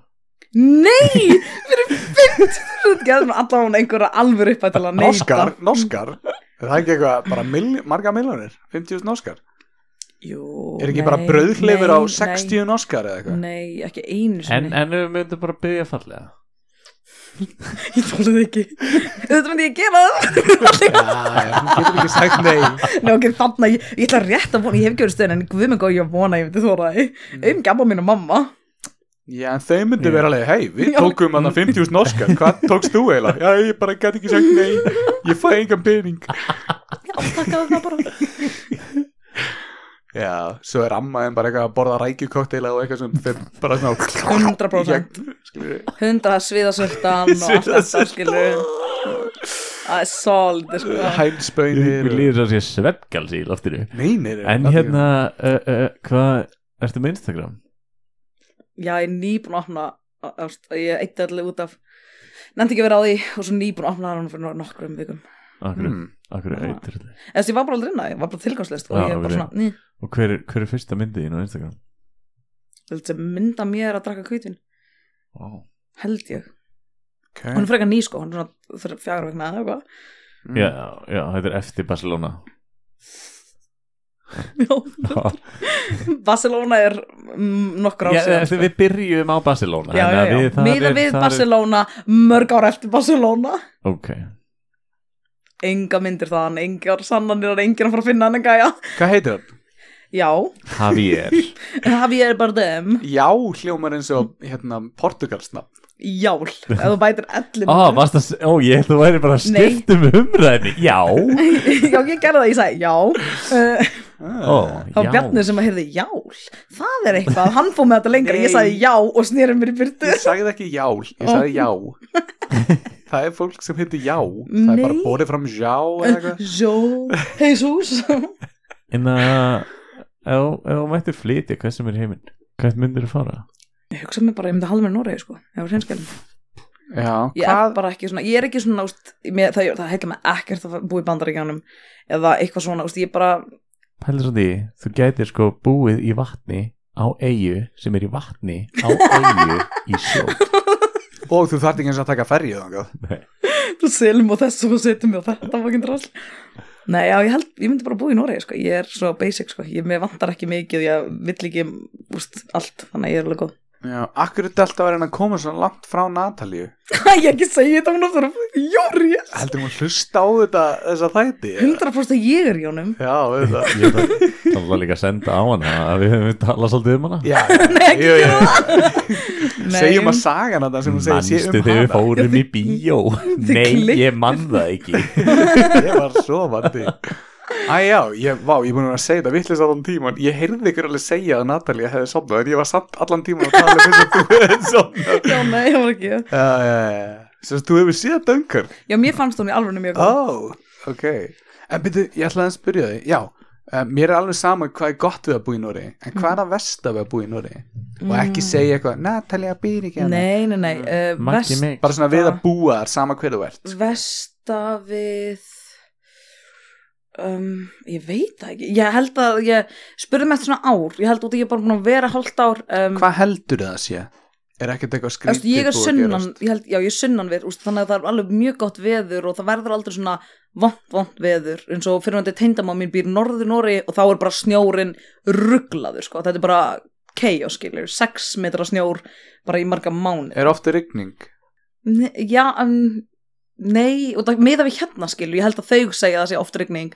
Nei, fyrir 50 hlutgeðum allavega einhverja alvöru upp til að neyta norskar norskar, er það ekki eitthvað bara milj marga miljónir, 50.000 norskar Jú, er ekki nei, bara brauðleifur á nei, 60 norskar eða Nei, eitthvað nei, ekki einu en, sinni en við myndum bara byggja fallega Ég þólaði ekki Þetta myndi ég gera það já, já, þú getur ekki sagt nei Nei, ok, þarna, ég, ég ætla rétt að vona Ég hef ekki verið stöðin, en guð mig góð, ég vona að Ég myndi þóra það, Mm. um gamma mín og mamma Já, en þau myndu Já. vera alveg, hei, við Já. tókum hann að 50.000 norskar, hvað tókst þú eiginlega? Já, ég bara gæti ekki sagt nei, ég fæ engan pening. Já, takk að það bara Já, svo er amma en bara eitthvað að borða rækjukokteila og eitthvað sem þeir bara svona... 100% Skilur við? Hundra sviðasöldan og allt þetta skilur það er solid sko. Hænsbönir Mér líður svo að sé sveppgals í loftinu Neinir En hérna, uh, uh, hvað Ertu með Instagram? já, ég er nýbúin að opna á- ást- ég eitti allir út af nefndi ekki að vera á því og svo nýbúin að opna hann fyrir nokkrum vikum Akkur, mm. hmm. akkur Ah. eitir þetta eða þess að ég var bara aldrei inn á því, ég var bara tilgangslist og Já, ég er bara ok. svona, ný, Og hver, er- hver er fyrsta myndið þín á Instagram? þetta mynda mér að drakka kvítvin Wow. held ég, Eh. okay. hún er frekar ný sko hún er svona þr- fjagra vegna eða eitthvað Hmm. mm. Já, já, þetta er eftir Barcelona Já, Barcelona er mm, nokkur ár Já, síðan eftir við byrjum á Barcelona já, já, þannig að já, við- það miða er- við það er- Barcelona mörg ár eftir Barcelona Ok, enga myndir þaðan, engar sannanir engir að fara að finna hann en gæja Hvað heitir það? já, Javier Javier Bardem Já, hljómar eins og hérna, Portugalsnafn Jál, ef þú bætir ellin Ó, varst það, ó, ég held að þú væri bara að Nei. skipta um umræðinni Já, Já, ég gerði það, ég sagði já uh, ó, Það var já Bjarni sem að heyrði jál Það er eitthvað, hann fór með þetta lengra Nei. Ég sagði já og snýrði mér í byrtu Ég sagði ekki jál, ég sagði já Það er fólk sem heitir já Það er bara Nei. borið fram já eða eitthvað Jó, heisús En að, ef ef þú mættir flytja, hvað sem er heiminn? Hvert myndir þú fara? Ég hugsa mér bara, ég myndi halda mér í Noregi sko Ég var hreinskjælum Já, Ég er bara ekki svona, ég er ekki svona úst, mér, það, það heitla mig ekkert að búa í bandaríkjánum Eða eitthvað svona, úst, ég bara Pælir svo því, þú gætir sko búið í vatni á eigu sem er í vatni á eigu í sjó Og þú þarft ekki eins að taka ferju þangað Þú selum og þessu og setjum og þetta fokkin drasl Nei, já, ég held, ég myndi bara búa í Noregi, sko Ég er svo basic, sko, ég mér vantar ekki mikið Ég vill ekki, úst, allt Þannig að ég er alveg góð Já, akkur er þetta alltaf að vera að koma svo langt frá Natalíu Æ, ég ekki segi þetta, hún aftur Jóri, Heldur hún hlusta á þetta þessa þætti? 100% ég er Jónum Já, við það Ég ætla að líka að senda á hana að við höfum talað svolítið um hana Já, já, Nei, ekki jú, jú. Nei. um- segjum að sagan að það sem hún segir sé Manstu um þegar við hana fórum í bíó þið Nei, klipptuð. ég mann það ekki ég var svo vandi Æ já, ég, vá, ég búin að vera að segja þetta vittlust allan tíman Ég heyrði ykkur alveg segja að Natalía hefði sofnað En ég var samt allan tíman að tala um þess að þú hefði sofnað Já, nei, ég var ekki Já, já, já Sérst, þú hefur séð döngar Já, mér fannst hún í alveg mjög Ó, góð ok En byrju, ég ætlaði að spyrja þig Já, uh, mér er alveg sama hvað er gott við að búa í Nóri En hvað er að versta við að búa í Nóri Og ekki segja eitthvað, Natalía býr ekki hérna." Mm. Nei, nei, nei uh, Maggi vest, mig Bara svona við að búa þar, sama hver þú Mm. ert Vesta við um, Ég veit það ekki Ég held að ég spurði með svona ár Ég held út að ég er bara búin að vera hálft ár um, Hvað heldur það sé? Er ekkert eitthvað Eftir, skrítið ég er búið að sunnan, gerast? ég held, já ég er sunnan við úst, þannig að það er alveg mjög gott veður og það verður aldrei svona vont, vont veður eins og fyrir hann þetta teindamá mín býr norður Nóri og þá er bara snjórin rugglaður sko, þetta er bara chaos skilur, 6 metra snjór bara í marga mánu Er ofta rigning? ne já, um, nei, og það meða við hérna skilur, ég held að þau segja það sé oft rigning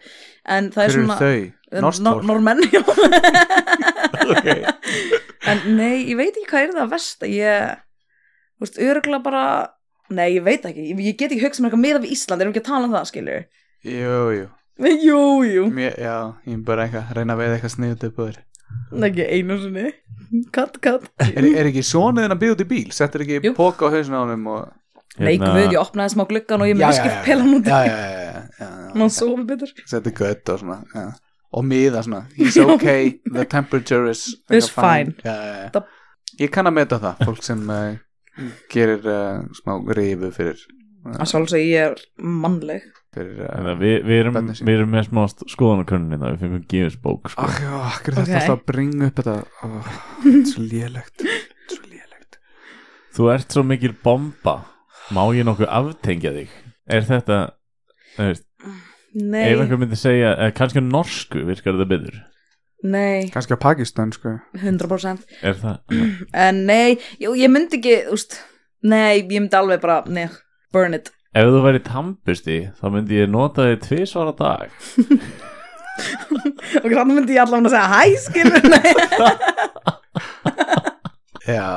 en það Hver er eru svona þau? Eh, Norskt nor- fólk? Normenn, já okay. En nei, ég veit ekki hvað er það að versta Ég, þú veist, örgulega bara Nei, ég veit ekki, ég, ég get ekki hugsað mér eitthvað meða við Ísland, erum við ekki að tala um það, skilju Jú, jú, Jú, jú, Mér, já, ég er bara eitthvað að reyna að veið eitthvað sniðut upp á þér ekki einu sinni Katt, katt er, er ekki svona þinn að byggja út í bíl? Settur ekki Jú. póka á hausinu á honum og... Hérna- Nei, guð, ég opnaði smá gluggan og ég er með skipt pelan út já, já, já, já, já, já. Má sofa betur Settur gött og svona já. Og miða svona It's okay, the temperature is It's fine. Já, já, Það- já. Ég kann að meta það, fólk sem uh, gerir uh, smá rifu fyrir, Að sjálfsög ég er mannleg fyrir uh, Þannig að hérna, Við vi erum, Börnin sín. vi erum með smá skoðanakönnin það við fengum gefis bók sko. Ach, já, akkur er þetta Ok. alltaf að bringa upp þetta oh, þetta er Svo lélegt þetta er Svo lélegt Þú ert svo mikil bomba Má ég nokkuð aftengja þig? Er þetta, þú veist, Nei, ef einhver myndi segja eh, kannski á norsku virkar þetta betur nei, Kannski á Pakistan, sko 100% Er það, En nei, jú, ég myndi ekki, úst Nei, ég myndi alveg bara, nei, burn it ef þú væri tampusti þá myndi ég nota þig tvisvar á dag Og grann myndi ég allavega að segja hæ, skilur Nei, Já,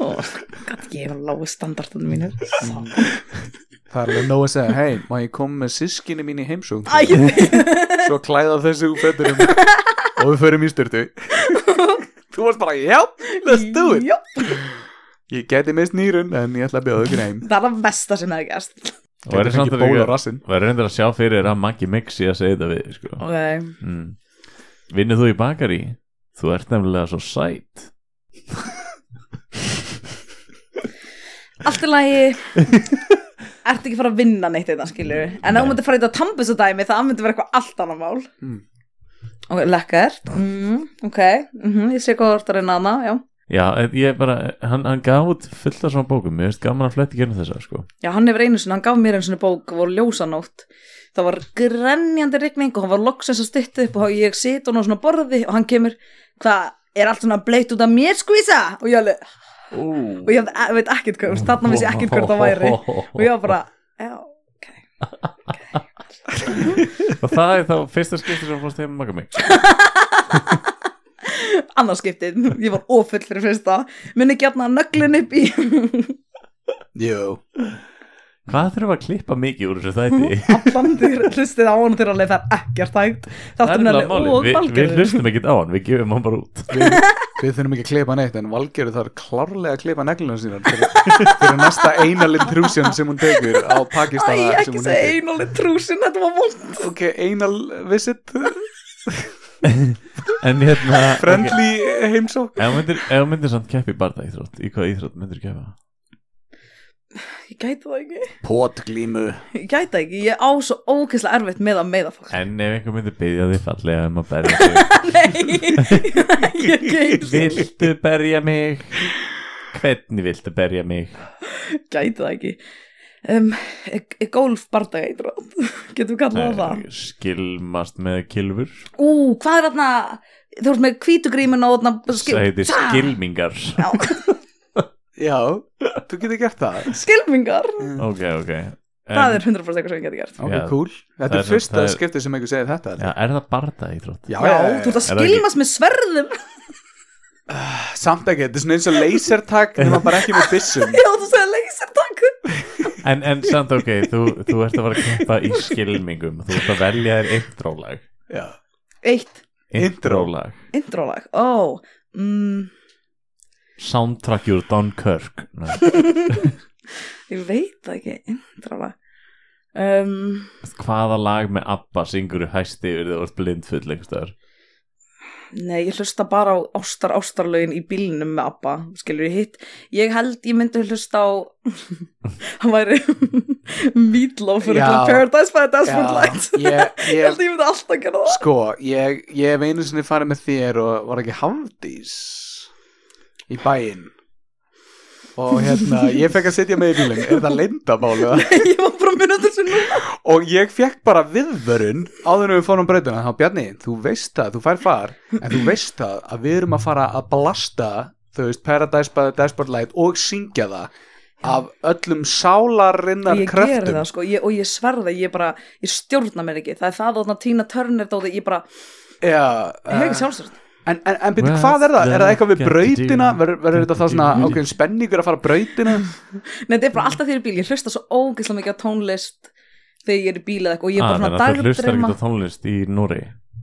Ó, gat ekki hefur lágu standardinu mínu það er alveg nóg að segja Hei, má ég koma með sískinni mín í heimsókn Æ, Svo klæða þessu úr fötunum Og við förum í styrtu Þú varst bara, já, let's do it jó, Ég geti mist nýrun, en ég ætla að bjóða ykkur heim Það er að vesta sem það er gerst og er Gæti samt fengið að ból á líka rassinn. og er reyndar að sjá fyrir að Maggi Mix sé að segja þetta við sko. ok, mm. vinnir þú í bakari þú ert nefnilega svo sætt allt í lagi ertu ekki fara að vinna neitt þetta skilur en ef Nei. þú myndir fara í þetta tambus að dæmi það myndi vera eitthvað allt annað mál Mm. ok, lekkert mm, ok, mm ég sé hvað þú ert að reyna annað já. já, en ég bara, hann, hann gaf út fullt af svona bókum, mér finnst gaman að fletti gerna þessa sko. já, hann hefur einu sinni, hann gaf mér einu sinni bók það voru ljósanótt það var grenjandi rigning og hann var loksins að stytta upp og ég sit og ná svona borði og hann kemur hvað, er allt svona bleitt út af mér skvísa og ég alveg og ég veit ekkert hvað, þarna vissi ég ekkert hvað það væri og ég var bara, já, ok og það er þá fyrsta skipti sem fórst heim með Maggi Mix annars skiptið, ég var ofull fyrir fyrsta muni gjarna nöglun upp í Jú hvað þurfum að klippa mikið úr þessu þætti allan þér hlustið á hann þegar það er ekkert hægt Það er þátturinn nefnilega er málið, og Vi, við valgerður hlustum ekkert á hann, við gefum hann bara út við, við þurfum ekki að klippa neitt en Valgerður þarf klárlega að klippa neglunum síðan fyrir, fyrir næsta eina litrúsjan sem hún tekur á Æ, Pakistana sem ekki hún segja heitir. einalið trúsin, þetta var vond ok, einal visit En hérna ok, friendly heimsók Ef þú myndir, ef þú myndir samt keppi í barða íþrótt Í hvaða íþrótt myndir keppa? Ég gæti það ekki, potglímu ég gæti það ekki, ég á svo ókesslega erfitt með að meða fólk En ef einhver myndir byggja þig fallega um að berja þig Nei, ég gæti Viltu berja mig? Hvernig viltu berja mig? gæti það ekki um, Golf bardaga eitrótt Getum við kallað það Skilmast með kilfur Ú, hvað er þarna Þú ert með hvítugrímun og þarna Það heitir Tja! skilmingar Já, já, þú getur gert það Skilmingar Ok, ok en, Það er 100% eitthvað sem ég geti gert ok, Já. cool, Það þetta er- er fyrsta það er- skipti sem einhver segir þetta Já, er það barða íþrótt? já, Já, þú ert að Er það ekki- skilmast með sverðum samt ekki, þetta er svona eins og lasertag nema bara ekki með byssum Já, þú segir leysir takk En, en samt ok, þú, þú ert að fara að keppa í skilmingum Þú ert að velja þér intrólag já, Eitt Intrólag Indrólag, ó mm, Soundtrack your Dunkirk Nei. Ég veit það ekki Indrólag um, Hvaða lag með ABBA syngur í hæsti yfir þegar þú ert blindfull einhverstaðar Nei, ég hlusta bara á ástar ástarlögin í bílnum með Abba, skilur ég hitt. Ég held ég myndi hlusta á, hann væri Meatloaf fyrir Já. Paradise by the Desperate Lights. já, ég, Ég held ég ég myndi alltaf gera það. sko, ég, ég hef einu sinni farið með þér og var ekki hafdís í bæinn og hérna, ég fekk að sitja með í bílinn er það leyndabálu Ég var bara að minna þessu núna. og ég fekk bara viðvörun áður en við fórum breytuna þá Bjarni, þú veist það, þú fær far en þú veist það að við erum að fara að blasta þú veist, Paradise by the Desperate Light og syngja það af öllum sálarinnar Ég gera kröftum það, sko, ég, og ég sverða, ég bara, ég stjórna mér ekki. Það er það þarna Tina Turner dóði, ég bara, Já, ég hef uh, ekki sjálfsvörð. en, en, en byrju, Well, hvað er það? Er það eitthvað við get to brautina? do. Verður verður þetta þá svona ákveðin spenningur að fara brautina? Nei, þetta er bara alltaf þegar ég er í bíl. Ég hlusta svo ógeðslega mikið á tónlist þegar ég er í bíl eða eitthvað og ég er Ah, bara svona Ah, Þú hlustar dagdreima. ekki á tónlist í Oh, Núri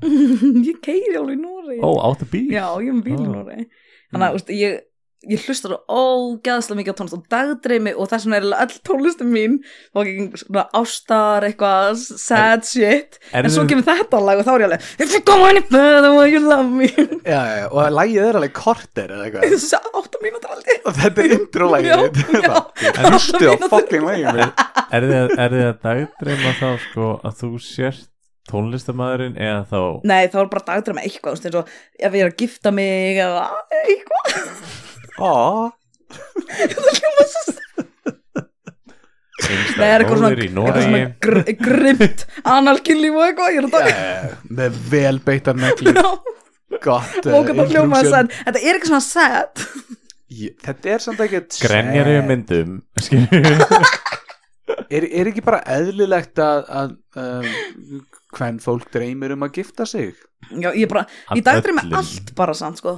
Ég keiri alveg í Núri. Ó, áttu bíl Já, ég er með bílinn Ah. úr þeim Þannig að úst, ég, ég hlusta svo ógæðslega mikið á tónlist og dagdreimi og þess vegna er all tónlistin mín og ekki svona ástar eitthvað sad shit er en svo þið- kemur þetta lag og þá er ég alveg If you go any further will you love me Já, já, já, og lægið er alveg korter eða eitthvað Þessi átta mínútur aldrei og þetta er Já, intro-lægið já. Hlustu á Átta fucking lægið mitt Er þið er þið að dagdreima þá sko að þú sért tónlistamæðurinn eða þá Nei, þá er bara dagdreima eitthvað úst, eins og ef ég er að gifta mig eða eitthvað Ó, einstæð Nei, er eitthvað svona, móðir í eitthvað Núri svona gr grimt analkynlíf og eitthvað Ég er að Já, já, dag já, með vel beittar neglur gott eh, og það hljómaði intrusion. sad Þetta er ekki svona sad Ég- þetta er samt ekkert Grenjar yfir sad. myndum skilurðu? er, er ekki bara eðlilegt að, að um, hvern fólk dreymir um að gifta sig Já, ég bara, Af ég dagdreima öllum. allt bara samt, sko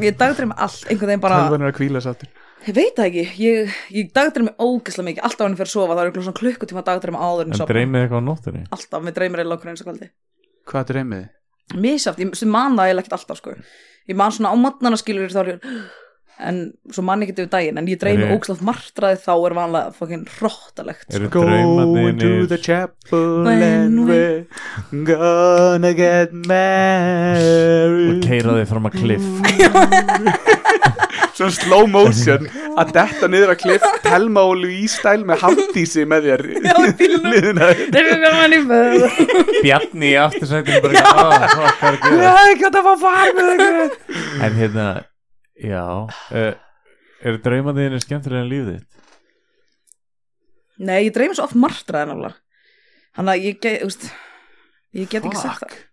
Ég dagdreima allt, einhvern veginn bara tölvan er að kvíla sáttur Ég veit það ekki, ég, ég dagdreima ógeðslega mikið Alltaf hann fyrir að sofa, það er einhvern svona klukkutíma að dagdreima áður en En sofa dreymið eitthvað á nóttunni Alltaf, mér dreymir eiginlega okkur eins og kvöldi hvað dreymið þið? Mísaft, ég sem man það eiginlega ekkert alltaf, sko Ég man svona á matnana skilur þá er ég en svo manni ekki yfir daginn en ég dreymi Eru- ógslað martraði þá er vanlega fokkin róttalegt Eru Going to the draumarnir chapel When and we- we're gonna get og married keira þig fram að Mm. kliff Svona slow motion að detta niður að kliff Telma og Louise stæl með handísi með þér Já, í bílnum. Liðina. Dreymi hvað manni föður Bjarni í aftursætinu bara eitthvað, "Ah, fuck, hvað er Ég hef að gera?" ekki átt að fá far með ykkur En hérna, já uh, Eru draumarnir skemmtilega en lífið þitt? Nei, ég dreymi svo oft martraði náttúrulega Þannig að ég get, úst, ég get ekki sagt Fuck. það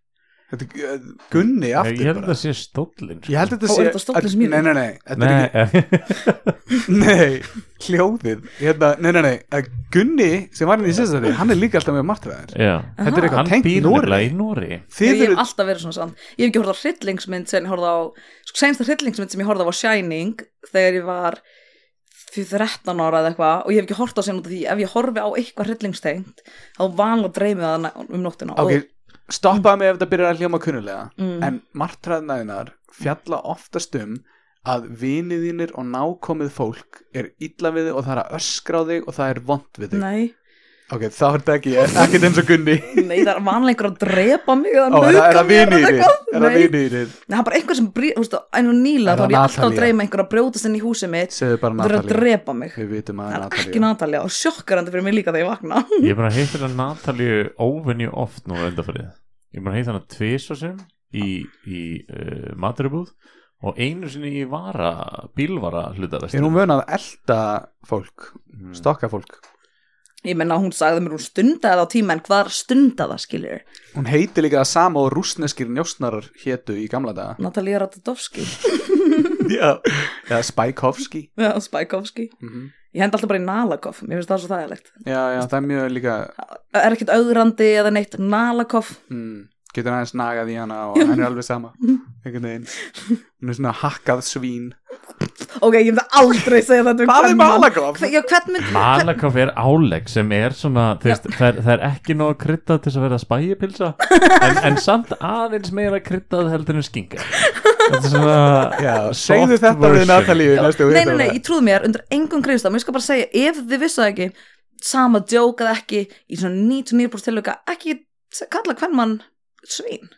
Þetta er eh, Gunni Ég aftur ég held að bara það sé stóllin Ég held að þetta Ó, sé er þetta stóllinn sem ég- Nei, nei, nei, þetta er Nei, ekki Nei, hljóðið hérna, Nei, nei, nei, að Gunni sem var henni í síðastæði, hann er líka alltaf með martræðar já Þetta er Hann eitthvað tengt býr Nóri nefnilega í Nóri Ég Þið hef eru, alltaf verið svona samt Ég hef ekki horfð á hryllingsmynd sem ég horfð á sko, Sensta hryllingsmynd sem ég horfð á var Shining Þegar ég var því 13 ára eða eitthvað Og ég hef ekki horfð á sem út af því Ef ég horfi á eitthvað hryllingstengt Þá vanlega dreymi það na- um nóttina ok, og, stoppaðu mig ef þetta byrjar að hljóma kunnulega mm, en martræðnaðinar fjalla oftast um að vinið þínir og nákomið fólk er illa við þig og það er að öskra á þig og það er vond við þig Nei, ok, þá er þetta ekki, ekki eins og Gunni nei, það er vanlega einhver að drepa mig Ó, eða er það- er nauðga það mér vinið eða þínir eitthvað. er það Nei. vinið þínir, Nei, það er bara einhver sem brýr, þú veist, en og nýla Er þá það er ég alltaf að Natalia? dreyma einhver að brjótast inn í húsið mitt segðu bara og það er að Natalie drepa mig við vitum að Það það er er ekki Natalie Natalia og sjokkarandi fyrir mig líka þegar ég vakna Hmm. Ég er bara að heita hérna Natalíu óvenju oft nú undanfarið. Ég er bara að heita hérna tvisvar sem í, í uh, maturubúð og einu sinni í vara, bílvara hlutavest. er hún vön að elda fólk, Mm. stokka fólk Ég menna hún sagði mér hún stundaði það á tíma en hvað er að stunda það skilur hún heiti líka það sama og rúsneskir njósnarar hétu í gamla daga Natalia Ratadovski já, eða Spajkovski Já, Spajkovski Mhm. Ég hendi alltaf bara í Nalakov, mér finnst það svo þægilegt já, já, það er mjög líka Er ekkert augrandi eða neitt Nalakov mm, getur aðeins nagað í hana og henni er alveg sama einhvern veginn hún er svona hakkað svín Ok, ég myndi aldrei segja þetta um hvað er kvenmann. malagraf? Hve- Já, hvern mynd Malakoff er álegg sem er svona, þú veist, það er, það er ekki nóg kryddað til þess að vera spæjupilsa en, en samt aðeins meira kryddað heldur en skinga. Þetta er svona, já, soft segðu þetta við version. Natalíu næstu Nei, nei, nei, ég trúð mér undir engum greiðstaf Mér skal bara segja, ef þið vissu það ekki Sama djók eða ekki Í svona 99% tilöka Ekki se- kalla hvern mann svín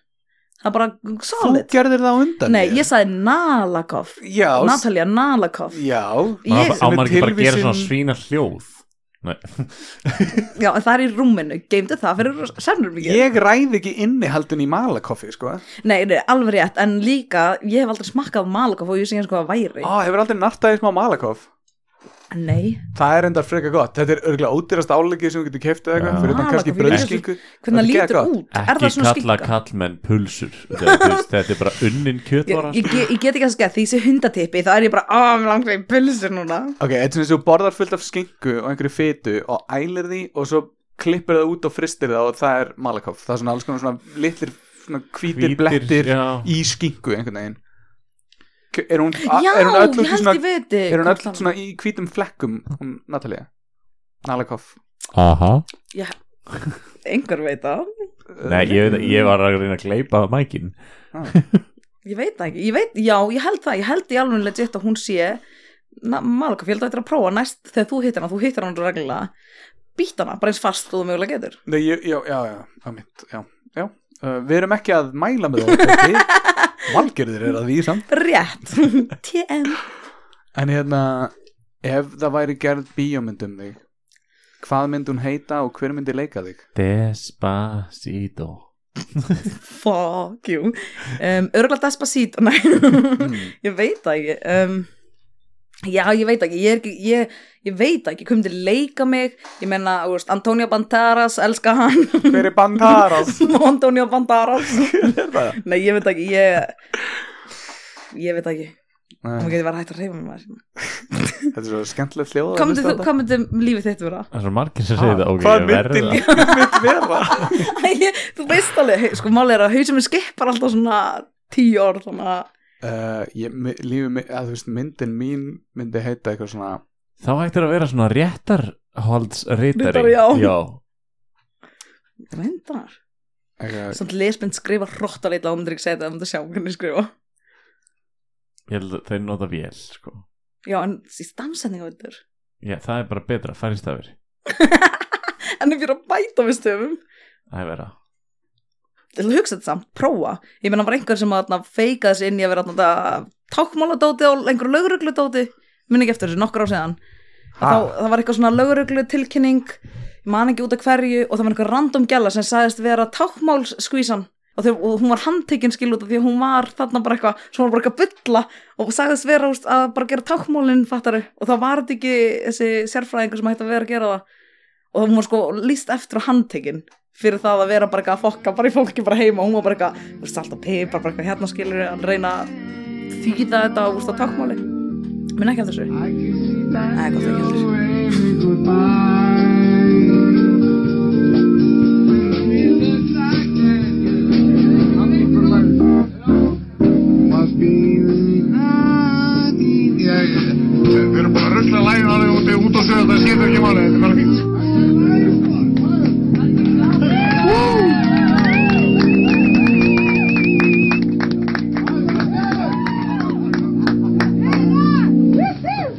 Það er bara þú solid gerðir það á undan Nei, mér. ég sagði Nalakov já, s- Natalia Nalakov já, Ég- á maður ekki bara að gera Tilvísun- svona svína hljóð. Nei, Já, en það er í rúminu, geymdu það fyrir semnur mikið. ég ræði ekki innihaldun í malakoffi sko. Nei, nei, alveg rétt, en líka, ég hef aldrei smakkað malakoff og ég sé eins og hvað það væri. Á, hefur aldrei nartaði smá malakoff Nei, Það er endar frekar gott, þetta er örgulega ódýrast álegið sem þú getur keiftið eitthvað, Já. fyrir utan Ah, kannski það fyrir bröðskingu hvernig það Þetta er lítur gott. út, er ekki það svona kalla skikka? kallmenn pulsur. Þetta er, þú veist, þetta er bara unnin Ég, kjötvara. ég, ge- ég get ekki að skæða því sé hundatippi, þá er ég bara, á, mér langar í pilsur núna. Ok, þetta er svona eins og þú borðar fullt af skinku og einhverju fytu og ælir því og svo klippir það út og fristir það og það er malakoff, það er svona alls konar svona litlir svona hvítir, Hvítir, blettir já. í skinku einhvern veginn K- Er hún, a- Já, Ah, er hún öll út ég í held svona, ég viti. er hún hvað öll það- svona í hvítum flekkum, hún Natalia Malakoff Aha. Einhver veit það, Eh, Nei, ég, veit- ég var að reyna að gleipa mækin ég veit það ekki, ég veit, já, ég held það, ég held í alveg legit að hún sé malakoff, ég held að þetta er að prófa næst þegar þú hittir hana, þú hittir hana reglulega, být hana, bara eins fast og þú mögulega getur. Nei, ég, já, já, já, að mitt, já, já. Uh, við erum ekki að mæla með það, ekki? Valgerður er að því samt. Rétt, TM. En hérna, ef það væri gerð bíómynd um þig, hvað mynd hún heita og hver myndi leika þig? Despacito fuck you um, örgulega Despacito nei, Hmm. ég veit það ekki um, já, ég veit ekki ég, er ekki, ég, ég veit það ekki, kom til að leika mig ég menna, þú veist, Antonio Banderas elska hann, Hver er Bandaras? Antonio Banderas Hver er það? nei, ég veit ekki ég, ég veit ekki Nei, hún getur verið hægt að reyfa með maður Þetta er svo skemmtilegt hljóð. að hvað myndi hlusta á þetta. þú- hvað myndi lífið þitt vera? Það er svo margir sem segir það Ah, ok, Hvað ég verð myndi að- lífið mitt vera? Æ, ég- þú veist alveg, hei, sko máli er að hausum er skipar alltaf svona tíu orð svona, Uh, ég, mi- lífið mitt, að þú veist, myndin mín myndi heita eitthvað svona, Þá ættir að vera svona réttarhaldsreitari Ritari, já. já reyndar eitthvað, Samt lesbind skrifa hróttalega og myndir ekki segja þetta, það myndir sjá hvernig skrifa Ég held að þeir nota vél sko. já, en í dansendingavöldur Já, það er bara betra, færri stafir en ef ég er að bæta við stöfum Það er vera til að hugsa þetta samt, prófa ég meina var einhver sem að feika þessi inn í að vera þarna, þetta tákmáladóti og einhverju lögregludóti minn ekki eftir þessu nokkur á síðan Ha? þá, það var eitthvað svona lögreglu tilkynning ég man ekki út af hverju og það var einhver random gæla sem sagðist vera tákmálskvísan og, þau, og hún var handtekinn skil út af því að hún var þarna bara eitthvað svo hún var bara eitthvað að bylla og sagðist vera úst, að bara gera tákmálinn fattari og það var þetta ekki þessi sérfræðingur sem hætti að vera að gera það og hún var sko líst eftir á handtekinn fyrir það að vera bara eitthvað að fokka bara í fólki bara heima og hún var bara eitthvað þú veist, alltaf pipar bara eitthvað hérna skilur að reyna að þýða þetta úr það tákmáli minn ekki eftir þessu Það er gott að gera. Við erum bara að rusla lægin alveg út, út á söðu, það skiptir ekki máli, þetta er bara fínt.